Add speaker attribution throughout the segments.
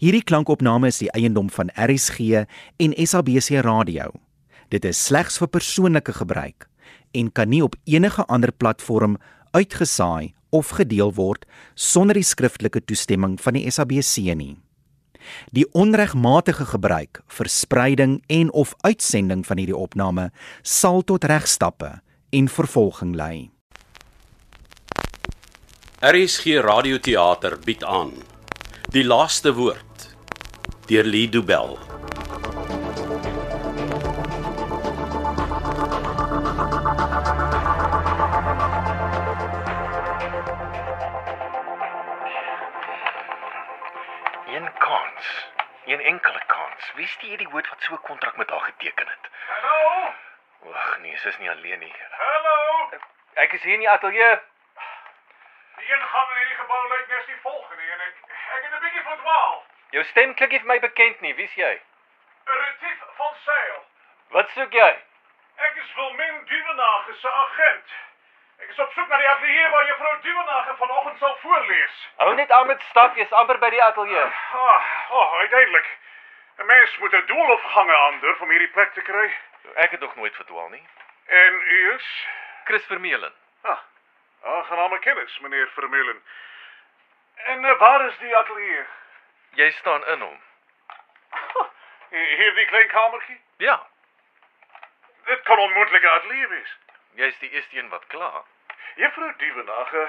Speaker 1: Hierdie klankopname is die eiendom van RSG en SABC Radio. Dit is slegs vir persoonlike gebruik en kan nie op enige ander platform uitgesaai of gedeel word sonder die skriftelike toestemming van die SABC nie. Die onregmatige gebruik, verspreiding en of uitsending van hierdie opname sal tot regstappe en vervolging lei.
Speaker 2: RSG Radioteater bied aan Die laaste woord deur Lido Bell.
Speaker 3: Een kans. Een enkele kans. Wie is die hierdie woord wat so 'n kontrak met haar geteken het?
Speaker 4: Hallo?
Speaker 3: Wag, nee, sy is nie alleen nie.
Speaker 4: Hallo?
Speaker 5: Ek is hier in die ateljee.
Speaker 4: Die ingang in hierdie gebou lyk net die volgende en ek ek het 'n bietjie verdwaal.
Speaker 5: Jou stem klink nie vir my bekend nie. Wie's jy?
Speaker 4: Retief van Sail.
Speaker 5: Wat soek jy?
Speaker 4: Ek is Wilmin Duvenage se agent. Ek is op soek na die ateljee waar juffrou Duvenage vanoggend sal voorlees.
Speaker 5: Hou net aan met stap, jy's amper by die ateljee.
Speaker 4: Ah, oh, uiteindelik. 'n Mens moet 'n doel of gange aandurf om hierdie plek te kry.
Speaker 3: Ek het nog nooit verdwaal nie.
Speaker 4: En u is
Speaker 5: Chris Vermeulen.
Speaker 4: Ah, aangename kennis, meneer Vermeulen. En eh, waar is die ateljee?
Speaker 3: Jy staan in hom.
Speaker 4: Oh, Hier- Hierdie klein kamertjie?
Speaker 3: Ja,
Speaker 4: Dit kan onmoontlik 'n ateljee wees.
Speaker 3: jy's die eerste een wat kla.
Speaker 4: Juffrou Duvenage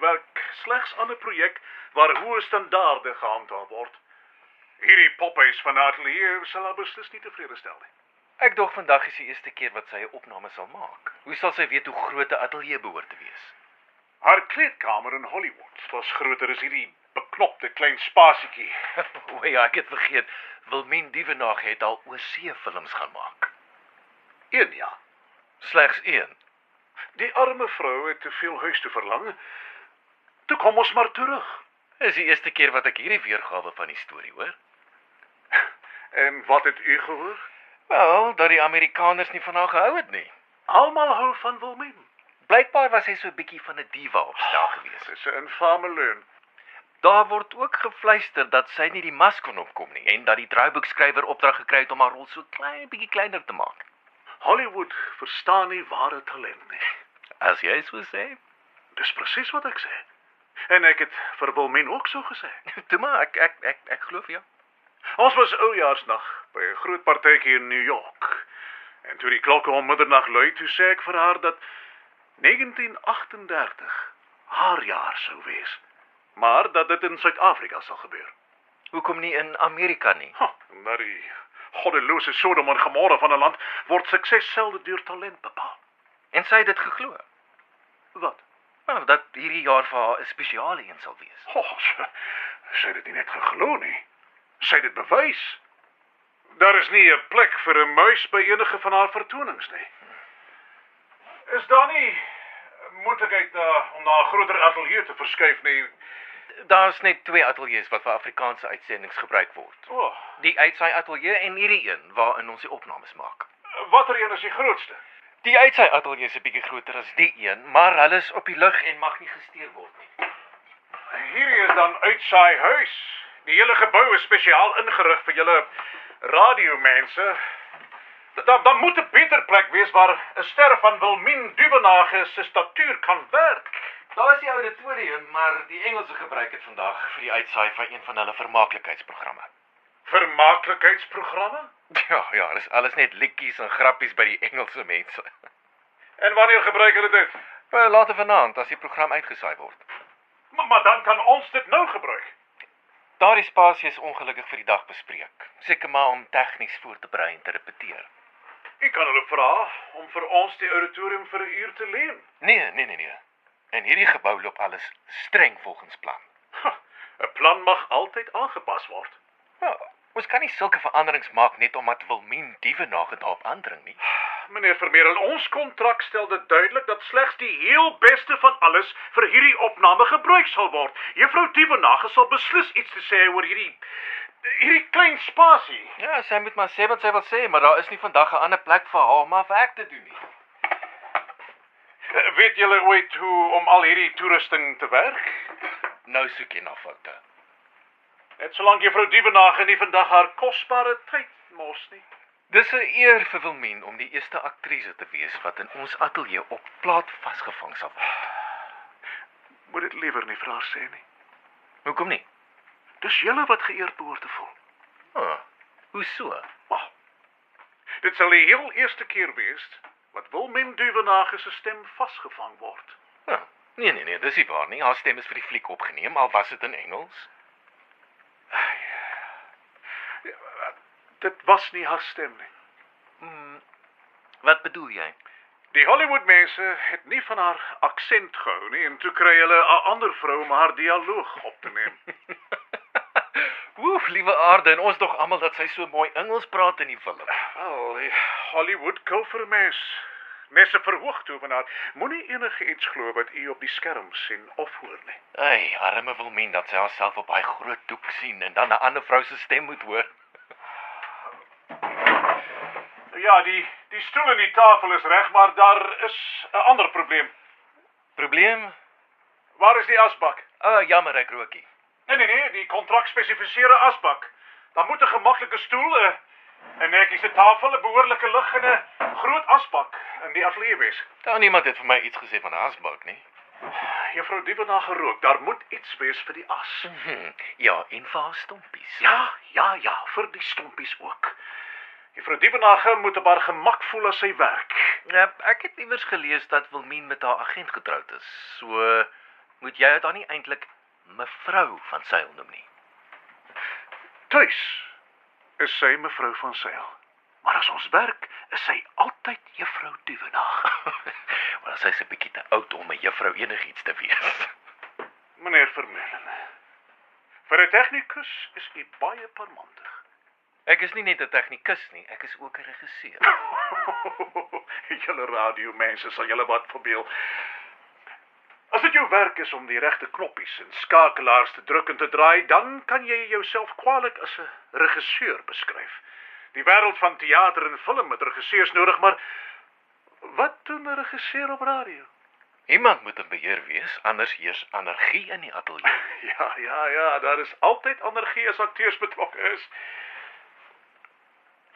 Speaker 4: werk slegs aan 'n projek waar hoë standaarde gehandhaaf word. Hierdie pophuis van haar ateljee sal haar beslis nie tevrede stel nie.
Speaker 3: Ek dog vandag is die eerste keer wat sy 'n opname sal maak. Hoe sal sy weet hoe groot 'n ateljee behoort te wees?
Speaker 4: Haar kleedkamer in Hollywood was groter as hierdie beknopte klein spasietjie.
Speaker 3: o ja, ek het vergeet. Wilmien Dievenage het al oorsee films gaan maak.
Speaker 4: Een ja.
Speaker 3: Slegs een.
Speaker 4: Die arme vrou het te veel huis te verlang. Toe kom ons maar terug.
Speaker 3: Dis die eerste keer wat ek hierdie weergawe van die storie hoor.
Speaker 4: En wat het u gehoor?
Speaker 3: Wel, dat die Amerikaners nie van haar gehou het nie.
Speaker 4: Almal hou van Wilmien.
Speaker 3: Blykbaar was hy so 'n bietjie van 'n diva op stel gewees.
Speaker 4: Dis 'n infame leuen.
Speaker 3: Daar word ook gefluister dat sy nie die mas kon opkom nie en dat die draaiboekskrywer opdrag gekry het om haar rol so klein bietjie kleiner te maak.
Speaker 4: Hollywood verstaan nie ware talent nie.
Speaker 3: As jy so sê.
Speaker 4: Dis presies Dus wat ek sê. En ek het vir Wilmien ook so gesê.
Speaker 3: Toe maar, ek ek ek ek glo vir jou.
Speaker 4: Ons was oujaarsnag by 'n groot partytjie in New York. En toe die klokke om middernag lui, toe sê ek vir haar dat 1938 haar jaar sou wees. Maar dat dit in Suid-Afrika sal gebeur.
Speaker 3: Hoekom nie in Amerika nie?
Speaker 4: Ha, na die goddelose Sodom en Gomorra van 'n land word sukses selde deur talent bepaal.
Speaker 3: En sy het dit geglo.
Speaker 4: Wat?
Speaker 3: Nou, dat hierdie jaar vir haar 'n spesiale een sal wees.
Speaker 4: Oh, sy, sy het dit nie net geglo nie. Sy het dit bewys. Daar is nie 'n plek vir 'n muis by enige van haar vertonings nie. Is daar nie moontlikheid daar om na 'n groter ateljee te nee. verskuif nie?
Speaker 3: Daar's net twee ateljee's wat vir Afrikaanse uitsendings gebruik word.
Speaker 4: O, oh,
Speaker 3: Die uitsaai ateljee en hierdie een waarin ons die opnames maak.
Speaker 4: watter een is die grootste?
Speaker 3: Die uitsaai ateljee is 'n bietjie groter as die een, maar hulle is op die lug en mag nie gesteer word nie.
Speaker 4: Hierdie is dan uitsaai huis. Die hele gebou is spesiaal ingerig vir julle radiomense. Dan dan moet 'n beter plek wees waar 'n ster van Wilmien Duvenage se statuur kan werk.
Speaker 3: Daar is die auditorium, maar die Engelse gebruik dit vandag vir die uitsaai van een van hulle vermaaklikheidsprogramme.
Speaker 4: Vermaaklikheidsprogramme?
Speaker 3: Ja, ja, dis alles net liedjies en grappies by die Engelse mense.
Speaker 4: En wanneer gebruik hulle dit?
Speaker 3: Maar later vanaand as die program uitgesaai word.
Speaker 4: Maar, maar dan kan ons dit nou gebruik.
Speaker 3: Daardie spasie is ongelukkig vir die dag bespreek. Seker maar om tegnies voor te berei en te repeteer.
Speaker 4: Ek kan hulle vra om vir ons die auditorium vir 'n uur te leen.
Speaker 3: Nee, nee, nee, nee. In hierdie gebou loop alles streng volgens plan.
Speaker 4: Ha, 'n Plan mag altyd aangepas word.
Speaker 3: Ja, ons kan nie sulke veranderings maak net omdat Wilmien diewe nagedop aandring nie.
Speaker 4: Meneer Vermeer, ons kontrak stel dit duidelik dat slegs die heel beste van alles vir hierdie opname gebruik sal word. Juffrou Dievenage sal beslis iets te sê oor hierdie hierdie klein spasie.
Speaker 3: Ja, sy moet maar sê wat sy wil sê, maar daar is nie vandag 'n ander plek vir haar om haar werk te doen nie.
Speaker 4: Eh, Weet julle ooit hoe om al hierdie toerusting te werk?
Speaker 3: Nou soek jy na foute.
Speaker 4: Net solank juffrou Dievenage nie vandag haar kosbare tyd mors nie.
Speaker 3: Dis 'n eer vir Wilmien om die eerste aktrise te wees wat in ons ateljee op plaat vasgevang sal word.
Speaker 4: Moet dit liewer nie vir haar sê nie.
Speaker 3: Hoekom nie?
Speaker 4: Dis julle wat geëerd behoort te voel.
Speaker 3: Oh, hoe so?
Speaker 4: Maar dit sal die heel eerste keer wees wat Wilmien Dievenage se stem vasgevang word.
Speaker 3: Nou, nee nee nee, dis nie waar nie. Haar stem is vir die fliek opgeneem, al was dit in Engels.
Speaker 4: Dit was nie haar stem nie.
Speaker 3: Wat bedoel jy?
Speaker 4: Die Hollywood mense het nie van haar aksent gehou nie en toe kry hulle 'n ander vrou om haar dialoog op te neem.
Speaker 3: Oef, liewe aarde, en ons dog almal dat sy so mooi Engels praat in die film.
Speaker 4: Wel, die Hollywood kou vir mens. Mense verhoog toe van haar. Moenie enige iets glo wat u op die skerm sien of hoor nie.
Speaker 3: Ai, arme Wilmien dat sy haarself op daai groot doek sien en dan 'n ander vrou se stem moet hoor.
Speaker 4: Ja, die die stoel en die tafel is reg, maar daar is 'n ander probleem.
Speaker 3: Probleem?
Speaker 4: Waar is die asbak?
Speaker 3: O, oh, jammer ek rookie.
Speaker 4: Nee nee nee, die kontrak spesifiseer 'n asbak. Dan moet 'n gemaklike stoel, 'n 'n netjiese tafel, 'n behoorlike lig en 'n groot asbak in die ateljee wees.
Speaker 3: Daar Ja, niemand het vir my iets gesê van 'n asbak nie.
Speaker 4: Juffrou Dievenage gerook, daar moet iets wees vir die as.
Speaker 3: Hm, ja, en vir haar stompies.
Speaker 4: Ja, ja, ja, vir die stompies ook. Juffrou Dievenage moet op haar gemak voel as sy werk.
Speaker 3: Ja, ek het iewers gelees dat Wilmien met haar agent getroud is. So moet jy dit dan nie eintlik mevrou van Sail noem nie.
Speaker 4: Tuis is sy mevrou van Sail. Maar as ons werk, is sy altyd Juffrou Dievenage.
Speaker 3: Maar sy's 'n bietjie te oud om 'n juffrou enigiets te wees.
Speaker 4: Meneer Vermeulen. Vir 'n tegnikus is u baie parmantig.
Speaker 3: Ek is nie net 'n tegnikus nie, ek is ook 'n regisseur.
Speaker 4: julle radiomense sal julle wat verbeel. As dit jou werk is om die regte knoppies en skakelaars te druk en te draai, dan kan jy jouself kwaliek as 'n regisseur beskryf. Die wêreld van teater en film het regisseurs nodig, maar wat doen 'n regisseur op radio?
Speaker 3: Iemand moet in beheer wees, anders heers anargie in die ateljee.
Speaker 4: Ja, ja, ja, daar is altyd energie as akteurs betrokke is.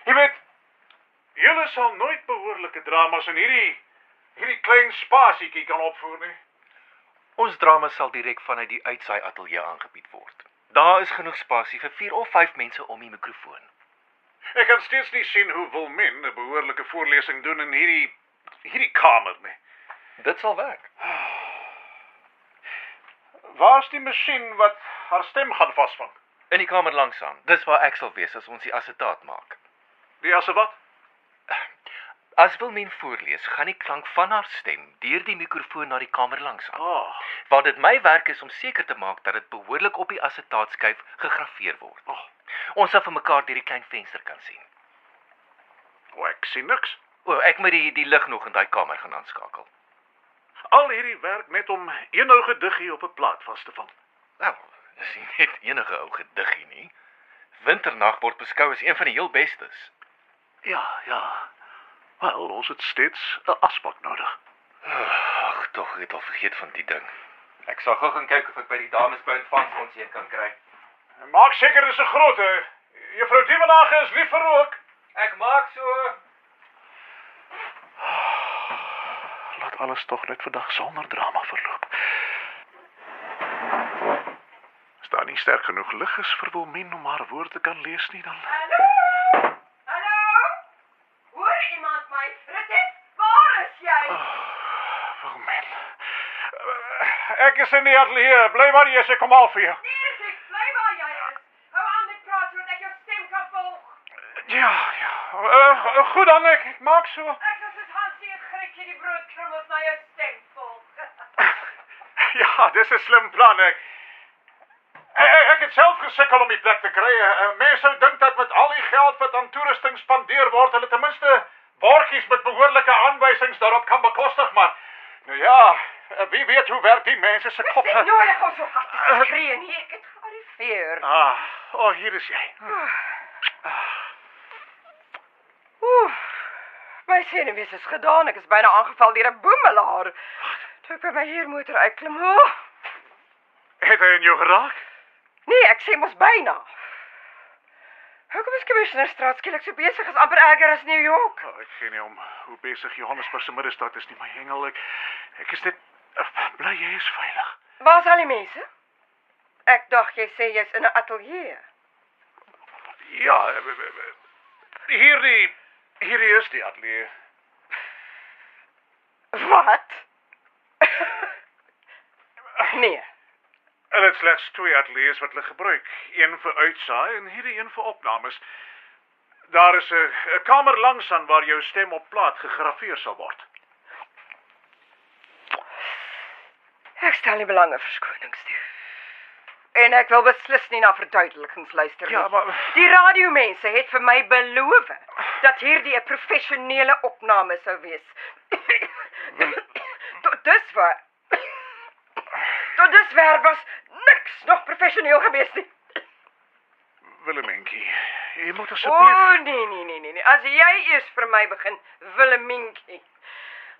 Speaker 4: Jy weet, julle sal nooit behoorlike dramas in hierdie hierdie klein spasietjie kan opvoer nie.
Speaker 3: Ons drama sal direk vanuit die uitsaai ateljee aangebied word. Daar is genoeg spasie vir 4 of 5 mense om die mikrofoon.
Speaker 4: Ek kan steeds nie sien hoe Wilmin 'n behoorlike voorlesing doen in hierdie hierdie kamer nie.
Speaker 3: Dit sal werk.
Speaker 4: Waar's die masjien wat haar stem gaan vasvang?
Speaker 3: In die kamer langsaan. Dis waar ek sal wees as ons die assetaat maak.
Speaker 4: Die asse wat?
Speaker 3: As Wilmien voorlees, gaan die klank van haar stem deur die mikrofoon na die kamer langsaan.
Speaker 4: Ah,
Speaker 3: Waar dit my werk is om seker te maak dat dit behoorlik op die assetaatskuyf gegraveer word.
Speaker 4: Oh.
Speaker 3: Ons sal vir mekaar deur die klein venster kan sien.
Speaker 4: oh, ek sien niks.
Speaker 3: O, ek moet die die lig nog in daai kamer gaan aanskakel.
Speaker 4: Al hierdie werk net om een ou gediggie op 'n plaat vas te vang.
Speaker 3: Wel, dis Nou, nie net enige ou gediggie nie. Winternag word beskou as een van die heel bestes.
Speaker 4: Ja, ja. Wel, ons het steeds 'n asbak nodig.
Speaker 3: Ag, tog, ek het al vergeet van die ding. Ek sal gou gaan kyk of ek by die dames by ontvang ons een kan kry.
Speaker 4: Maak seker dis 'n groot hè. Juffrou Dievenage is lief vir rook.
Speaker 3: Ek maak so.
Speaker 4: Laat alles tog net vandag sonder drama verloop. As daar nie sterk genoeg lig is vir Wilmien om haar woord te kan lees nie dan.
Speaker 6: Hallo? Hallo? Hoor iemand my Fritz? Waar is jy?
Speaker 4: Wilmien. Ek is in die ateljee. Bly waar jy is, ek kom al vir jou.
Speaker 6: Nee, ek bly waar jy is. Hou aan met praat sodat ek jou stem kan volg.
Speaker 4: Ja, ja. Uh, goed dan ek, ek maak so.
Speaker 6: Ek is soos Hansie en Grietje die broodkrummels na jou stem volg.
Speaker 4: Ja, dis 'n slim plan ek. Ek, ek het self gesukkel om die plek te kry. Eh, Mense sou dink dat met al die geld wat aan toerusting spandeer word, hulle ten minste borgies met behoorlike aanwysings daarop kan bekostig, maar nou ja, eh, wie weet hoe werk die mense se kop.
Speaker 6: Dit nodig om so hard te skree nie. Ek het gearriveer.
Speaker 4: Ah, o, oh, hier is jy.
Speaker 6: Oef. My senuwees is gedaan. Ek is byna aangeval deur 'n boemelaar. Toe ek by my huurmotor uitklim, oh,
Speaker 4: Het hy in jou geraak?
Speaker 6: Nee, ek sê mos byna. Hoekom is kommissioner Straat skielik so besig is amper erger as New York?
Speaker 4: Oh, ek gee nie om hoe besig Johannesburg se middestad is nie, my hengel. Ek, ek is net ag, bly jy is veilig.
Speaker 6: Waar is al die mense? Ek dink jy sê jy's in 'n ateljee.
Speaker 4: Ja, eh, eh, eh, hierdie hierdie is die ateljee.
Speaker 6: Wat? nee.
Speaker 4: Hulle het slegs twee ateljees wat hulle gebruik, een vir uitsaai en hierdie een vir opnames. Daar is 'n 'n kamer langs aan waar jou stem op plaat gegraveer sal word.
Speaker 6: Ek stel nie belang in verskonings nie. En ek wil beslis nie na verduidelikings luister nie.
Speaker 4: Ja, maar-
Speaker 6: die radiomense het vir my beloof dat hierdie 'n professionele opname sou wees. Tot dusver Tot dusver was niks nog professioneel gewees nie.
Speaker 4: Willemientjie, jy moet
Speaker 6: O
Speaker 4: asseblief
Speaker 6: oh, nee nee nee nee nee. As jy eers vir my begin Willemientjie.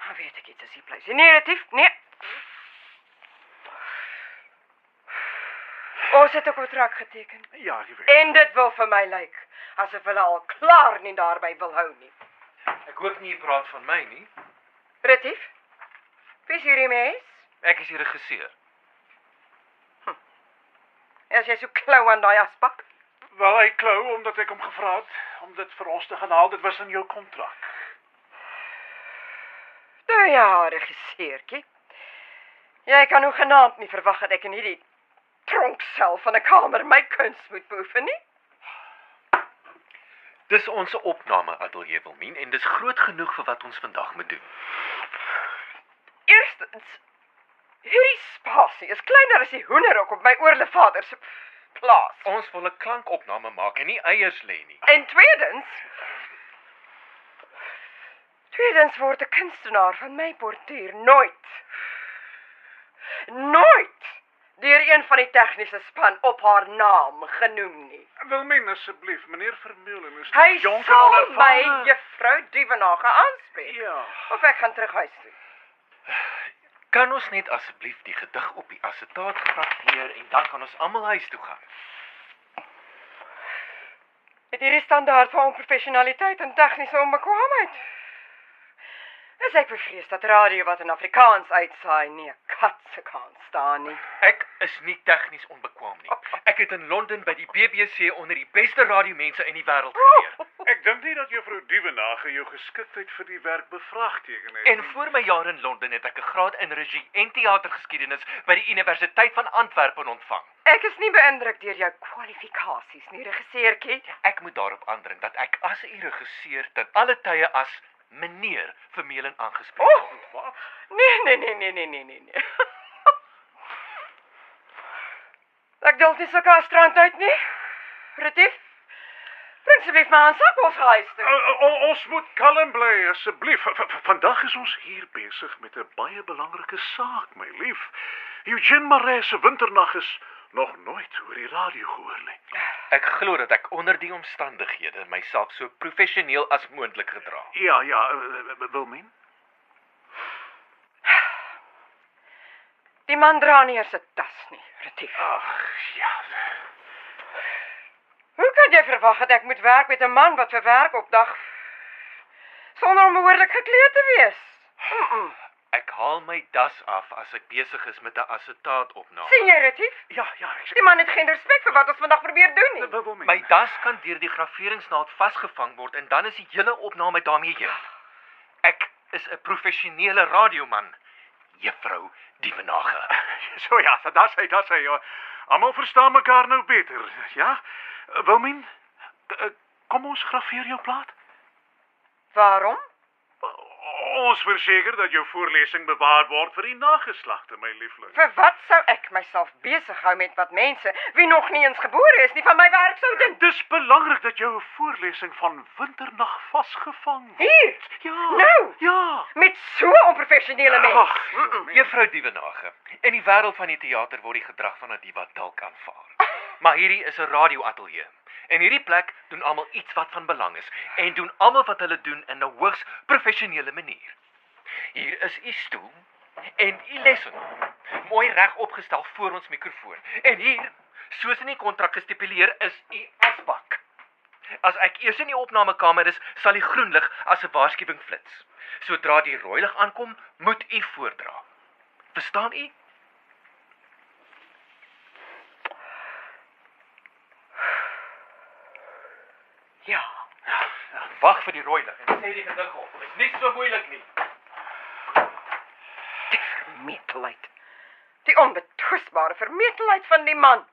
Speaker 6: Dan weet ek dit is nie pleis. Nee, retief. Nee. Ons het 'n kontrak geteken
Speaker 4: Ja, ek weet.
Speaker 6: en dit wil vir my lyk asof hulle al klaar nie daarby wil hou nie.
Speaker 3: Ek hoop nie jy praat van my nie.
Speaker 6: Retief. Wie is hierdie mens?
Speaker 3: Ek is die regisseur.
Speaker 6: As jy so klou aan daai aspak.
Speaker 4: Wel, hy klou omdat ek hom gevra het om dit vir ons te gaan haal. Dit was in jou kontrak.
Speaker 6: Nou ja, regisseurtjie. Jy kan nou genaamd nie verwag dat ek in hierdie tronksel van 'n kamer my kuns moet beoefen nie.
Speaker 3: Dis ons opname ateljee Wilmien en dis groot genoeg vir wat ons vandag moet doen.
Speaker 6: Eerstens, hierdie spasie is kleiner as die hoenderhok op my oorlevader se plaas.
Speaker 3: Ons wil 'n klankopname maak en nie eiers lê nie.
Speaker 6: En tweedens, tweedens word 'n kunstenaar van my portier nooit nooit deur een van die tegniese span op haar naam genoem nie.
Speaker 4: Wilmien, asseblief, meneer Vermeulen is
Speaker 6: Hy
Speaker 4: nog jonk en
Speaker 6: sal my
Speaker 4: onervare.
Speaker 6: juffrou Dievenage aanspreek.
Speaker 4: Ja.
Speaker 6: Of ek gaan terug huis toe.
Speaker 3: Kan ons net asseblief die gedig op die assetaat trakteer en dan kan ons almal huis toe gaan.
Speaker 6: Met hierdie standaard van onprofessionaliteit en tegniese onbekwaamheid. Is ek bevrees dat radio wat in Afrikaans uitsaai nie 'n kat se kans staan nie.
Speaker 3: Ek is nie tegnies onbekwaam nie. Ek het in Londen by die BBC onder die beste radiomense in die wêreld geleer.
Speaker 4: Ek dink nie dat juffrou Dievenage jou geskiktheid vir die werk bevraagteken het.
Speaker 3: En voor my jaar in Londen het ek 'n graad in regie en teatergeskiedenis by die Universiteit van Antwerpen ontvang.
Speaker 6: Ek is nie beïndruk deur jou kwalifikasies nie, regisseurtjie.
Speaker 3: Ek moet daarop aandring dat ek as 'n regisseur ten alle tye as meneer Vermeulen aangespreek
Speaker 6: Oh,
Speaker 3: word.
Speaker 6: nee, nee, nee, nee, nee, nee, nee, nee. Ek dink dis ook al strand uit nie. Retief. Bring asseblief my handsak of huis toe.
Speaker 4: O- o- ons moet kalm bly asseblief. V- v- Vandag is ons hier besig met 'n baie belangrike saak, my lief. Eugene Maree se winternag is nog nooit oor die radio gehoor nie.
Speaker 3: Ek glo dat ek onder die omstandighede myself so professioneel as moontlik gedra het.
Speaker 4: Ja, ja, eh, eh, Wilmien.
Speaker 6: Die man dra nie eers 'n tas nie, Retief.
Speaker 4: Ag, ja.
Speaker 6: Hoe kan jy verwag dat ek moet werk met 'n man wat vir werk opdag sonder om behoorlik gekleed te wees? Mm -mm.
Speaker 3: Ek haal my das af as ek besig is met 'n assetaatopname.
Speaker 6: Sien jy, Retief?
Speaker 4: Ja, ja, ek sê
Speaker 6: Die man het geen respek vir wat ons vandag probeer doen nie.
Speaker 4: Wil- Wilmien.
Speaker 3: My das kan deur die graveringsnaald vasgevang word en dan is die hele opname daarmee heen. Ek is 'n professionele radioman, Juffrou Dievenage.
Speaker 4: So ja, da- daar's hy, daar's hy. ja. Almal verstaan mekaar nou beter. Ja? Eh, Wilmien, k- eh, kom ons graveer jou plaat.
Speaker 6: Waarom?
Speaker 4: Ons verseker dat jou voorlesing bewaar word vir die nageslagte, my liefling.
Speaker 6: Vir wat sou ek myself besig hou met wat mense wie nog nie eens gebore is nie van my werk sou dink?
Speaker 4: Dis belangrik dat jou 'n voorlesing van Winternag vasgevang word.
Speaker 6: Hier,
Speaker 4: Ja.
Speaker 6: Nou!
Speaker 4: Ja.
Speaker 6: met so 'n onprofessionele mens.
Speaker 4: Ag,
Speaker 3: Juffrou Dievenage, in die wêreld van die teater word die gedrag van 'n diva dalk aanvaar. Maar hierdie is 'n radioateljee. En hierdie plek doen almal iets wat van belang is en doen almal wat hulle doen in 'n hoogs professionele manier. Hier is u stoel en u lesenaar. Mooi reg opgestel voor ons mikrofoon. En hier Soos in die kontrak gestipuleer is u asbak. As ek eers in die opnamekamer is, sal die groen lig as 'n waarskuwing flits. Sodra die rooi lig aankom, moet u voordra. Verstaan u?
Speaker 6: Ja.
Speaker 3: Wag vir die rooi lig en sê die gedig op. Dit is nie so moeilik nie.
Speaker 6: Die vermetelheid. Die onbetwisbare vermetelheid van die man.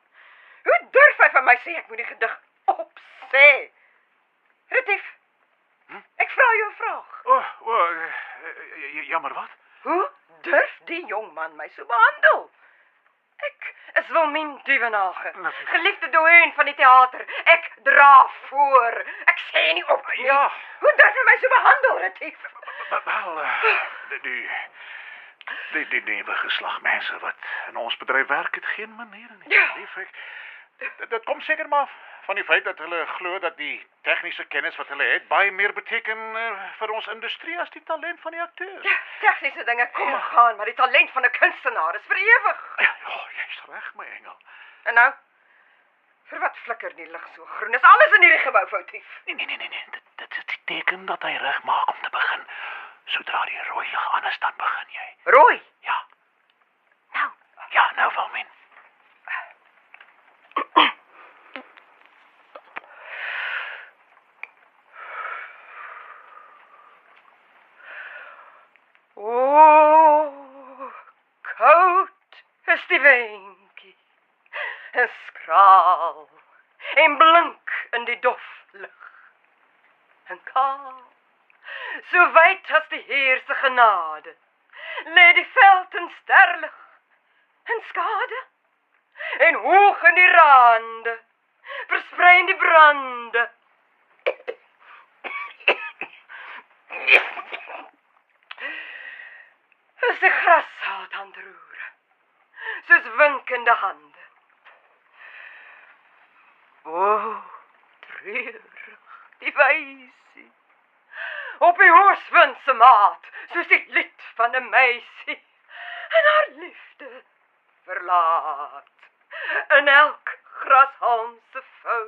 Speaker 6: Hoe durf hy van my sê ek moet die gedig opsê? Retief. Ek vra jou 'n vraag.
Speaker 4: O, oh, o, oh, jammer wat?
Speaker 6: Hoe durf die jong man my so behandel? Ek is Wilmien Duvenage, geliefde doeen van die teater. Ek dra voor. Ek sê nie op nie.
Speaker 4: Ja.
Speaker 6: Hoe durf hy my so behandel, Retief?
Speaker 4: Wel, Wel, eh, die die die, die nuwe geslag mense wat in ons bedryf werk het geen maniere nie.
Speaker 6: Ja.
Speaker 4: Lief ek. Dit, dit kom seker maar van die feit dat hulle glo dat die tegniese kennis wat hulle het baie meer beteken eh, vir ons industrie as die talent van die akteurs.
Speaker 6: Ja, Tegniese dinge kom en gaan, maar die talent van 'n kunstenaar is vir ewig.
Speaker 4: Ja, ja, jy's reg my engel.
Speaker 6: En nou vir wat flikker die lig so groen? Is alles in hierdie gebou foutief?
Speaker 4: Nee nee nee nee, nee. Dit, dit is die teken dat hy reg maak om te begin. Sodra die rooi lig aan is, dan begin jy.
Speaker 6: Rooi.
Speaker 4: Ja.
Speaker 6: Nou,
Speaker 4: Ja, nou wel men.
Speaker 6: o, koud Oh, is die windjie. En skraal en blink in die dof lig. En kaal so wyd as die Heer se genade. Lê die veld in sterlig en skade. En hoog in die rande versprei in die brande. Is die grassaad aan die roer. Soos winkende hande. O, treurig, die wysie. Op die horswind se maat, soos die lied van 'n meisie. En haar liefde verlaat. In elk grashalm se vou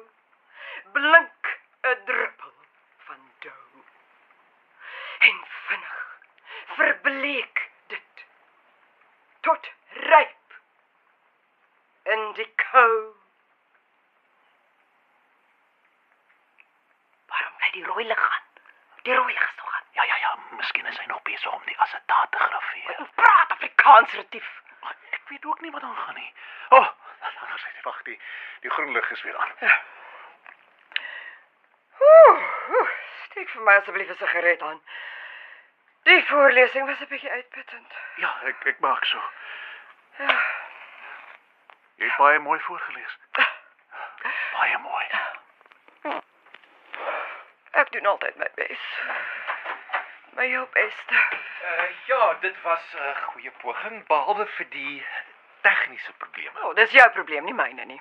Speaker 6: blink 'n druppel van dou. En vinnig verbleek dit tot ryp in die kou. Waarom bly die rooi lig aan? Die rooi lig is nog aan.
Speaker 4: Ja ja ja, miskien is hy nog besig om die assetaat te grafeer.
Speaker 6: Praat Afrikaans retief.
Speaker 4: Maar Ek weet ook nie wat aangaan nie. O, oh, Ja. anders het wag die die groen lig is weer aan.
Speaker 6: Oeh, oeh, steek vir my asseblief 'n sigaret aan. Die voorlesing was 'n bietjie uitputtend.
Speaker 4: Ja, ek ek maak so. Jy het baie mooi voorgeles. Baie mooi.
Speaker 6: Ek doen altyd my bes. My heel beste.
Speaker 3: Uh, ja, dit was 'n goeie poging behalwe vir die tegniese probleme.
Speaker 6: O, oh, dis jou probleem, nie myne nie.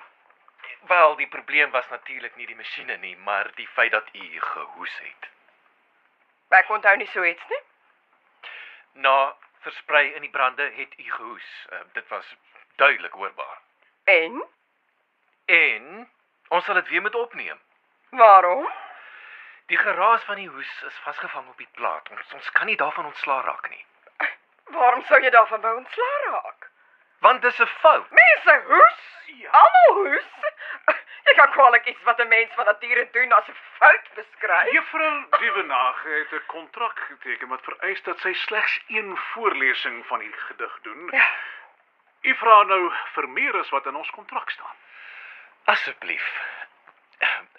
Speaker 3: Wel, die probleem was natuurlik nie die masjiene nie, maar die feit dat u gehoes het.
Speaker 6: Ek onthou nie so iets nie.
Speaker 3: Na versprei in die brande het u gehoes. Uh, dit was duidelik hoorbaar.
Speaker 6: En
Speaker 3: En ons sal dit weer moet opneem.
Speaker 6: waarom?
Speaker 3: Die geraas van die hoes is vasgevang op die plaat. Ons ons kan nie daarvan ontslaa raak nie,
Speaker 6: Waarom sou jy daarvan wou ontslaa raak?
Speaker 3: want dis 'n fout.
Speaker 6: Mense hoes. Almal hoes. Jy kan kwaliek iets wat 'n mens van nature doen as 'n fout beskryf.
Speaker 4: Juffrou Dievenage het 'n kontrak geteken wat vereis dat sy slegs een voorlesing van die gedig doen.
Speaker 6: Ja.
Speaker 4: U vra nou vir meer as wat in ons kontrak staan.
Speaker 3: Asseblief.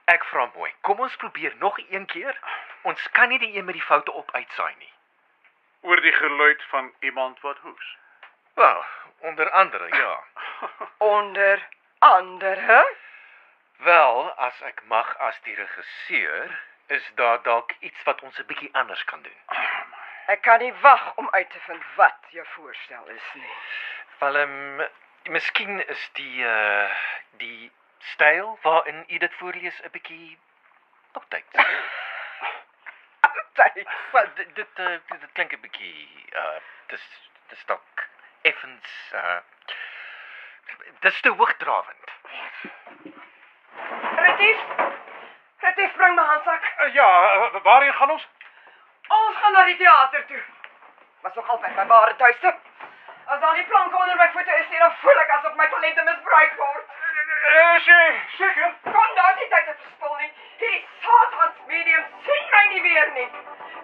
Speaker 3: Ek vra mooi. Kom ons probeer nog een keer. Ons kan nie die een met die foute op uitsaai nie.
Speaker 4: Oor die geluid van iemand wat hoes.
Speaker 3: Wel, onder andere, ja.
Speaker 6: Onder andere
Speaker 3: Wel, as ek mag as die regisseur, is daar dalk iets wat ons 'n bietjie anders kan doen.
Speaker 6: Ek kan nie wag om uit te vind wat jou voorstel is nie.
Speaker 3: Wel, um, miskien is die uh die styl waarin u dit voorlees 'n bietjie oudtyds.
Speaker 6: Altyd.
Speaker 3: Wel, dit dit, uh, dit dit eh, klink 'n bietjie uh dis dis dalk effens uh eh, Dis te hoogdrawend.
Speaker 6: Retief. Retief, bring my handsak.
Speaker 4: Eh,
Speaker 3: Ah,
Speaker 4: ja, eh, waarheen gaan ons?
Speaker 6: Ons gaan na die teater toe. Was nog altyd my bare tuiste. As daar nie planke onder my voete is nie, dan voel ek asof my talente misbruik word.
Speaker 4: Eh, Is jy seker?
Speaker 6: Kom daar nie tyd te verspil nie. Hierdie satans medium sien my nie weer nie.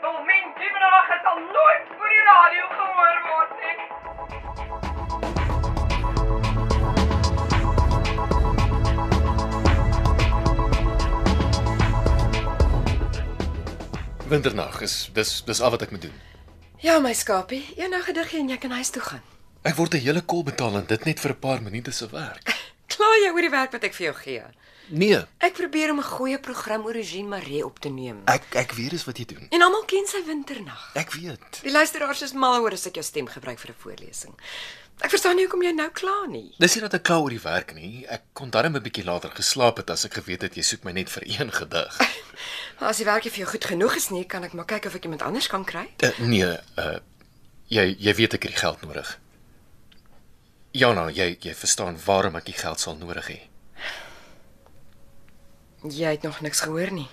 Speaker 6: Wil men dievenag sal nooit oor die radio gehoor word nie.
Speaker 7: Winternag is dis dis al wat ek moet doen.
Speaker 8: Ja, my skapie, eendag gedig jy en jy kan huis toe gaan.
Speaker 7: Ek word 'n hele kol betaal en dit net vir 'n paar minute se werk.
Speaker 8: Kla jy oor die werk wat ek vir jou gee?
Speaker 7: Nee,
Speaker 8: Ek probeer om 'n goeie program oor Eugene Maree op te neem.
Speaker 7: ek ek weet dis wat jy doen.
Speaker 8: En almal ken sy winternag.
Speaker 7: Ek weet.
Speaker 8: Die luisteraars is mal oor as ek jou stem gebruik vir 'n voorlesing. Ek verstaan nie hoekom jy nou kla nie.
Speaker 7: Dis nie dat ek kla oor die werk nie. Ek kon darm 'n bietjie later geslaap het as ek geweet het jy soek my net vir een gedig.
Speaker 8: Maar as die werk nie vir jou goed genoeg is nie, kan ek maar kyk of ek iemand anders kan kry.
Speaker 7: Uh, nee, uh jy jy weet ek het die geld nodig. Jana, jy jy verstaan waarom ek die geld sal nodig hê.
Speaker 8: Jy het nog niks gehoor nie.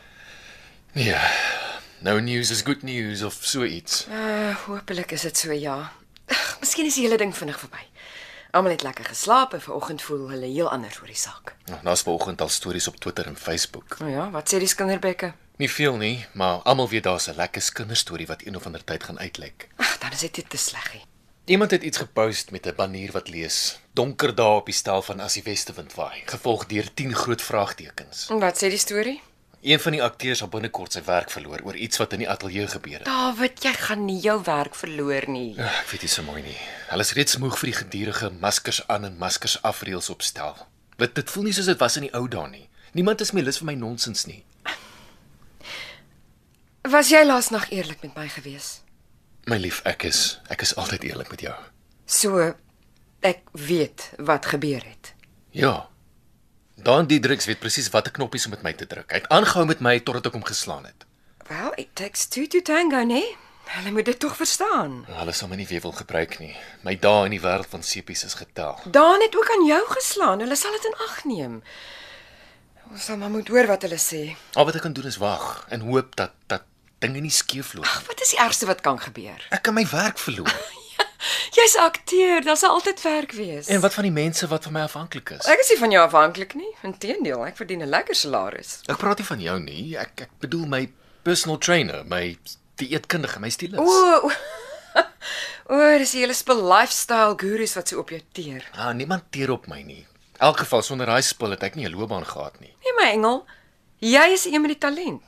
Speaker 7: Nee. No news is good news of so iets.
Speaker 8: Uh, hopelik is dit so ja. Ag, miskien is die hele ding vinnig verby. Almal het lekker geslaap en vanoggend voel hulle heel anders oor die saak.
Speaker 7: Nou, Daar's vanoggend al stories op Twitter en Facebook.
Speaker 8: Nou ja, wat sê die skinderbekke?
Speaker 7: Nie veel nie, maar almal weet daar's 'n lekker kinderstorie wat een of ander tyd gaan uitlek.
Speaker 8: Ag, dan is dit net te sleggie.
Speaker 7: Iemand het iets gepost met 'n banner wat lees: Donker dae op die stel van as die westewind waai, gevolg deur 10 groot vraagtekens.
Speaker 8: En wat sê die storie?
Speaker 7: Een van die akteurs het binnekort sy werk verloor oor iets wat in die ateljee gebeur het.
Speaker 8: David, jy gaan nie jou werk verloor nie.
Speaker 7: Ag, Ek weet nie so mooi nie. Hulle is reeds moeg vir die gedurende maskers aan en maskers af reëls opstel. Dit dit voel nie soos dit was in die ou dae nie. Niemand is meer lus vir my nonsens nie.
Speaker 8: Was jy laas nag eerlik met my gewees?
Speaker 7: My lief, ek is ek is altyd eerlik met jou.
Speaker 8: So ek weet wat gebeur het.
Speaker 7: Ja. Dan die druks weet presies watter knoppies om met my te druk. Hy het aangehou met my totdat ek hom geslaan het.
Speaker 8: Wel, it takes two to tango, nee. Hulle moet dit tog verstaan.
Speaker 7: Hulle sal my nie weer wil gebruik nie. My dae in die wêreld van sepies is getel.
Speaker 8: Daan het ook aan jou geslaan. Hulle sal dit in ag neem. Ons sal maar moet hoor wat hulle sê.
Speaker 7: Al wat ek kan doen is wag en hoop dat dat dinge nie skeefloop nie.
Speaker 8: Wat is die ergste wat kan gebeur?
Speaker 7: Ek kan my werk verloor.
Speaker 8: Jy's 'n akteur, daar sal altyd werk wees.
Speaker 7: En wat van die mense wat van my afhanklik is?
Speaker 8: Ek is nie van jou afhanklik nie. Inteendeel, ek verdien 'n lekker salaris.
Speaker 7: Ek praat nie van jou nie. Ek ek bedoel my personal trainer, my dieetkundige, my stylist.
Speaker 8: O. o- O, dis die hele spul lifestyle gurus wat so op jou teer.
Speaker 7: Ah, niemand teer op my nie. In elk geval sonder daai spul het ek nie 'n loopbaan gehad nie.
Speaker 8: Nee my engel, jy is een met die talent.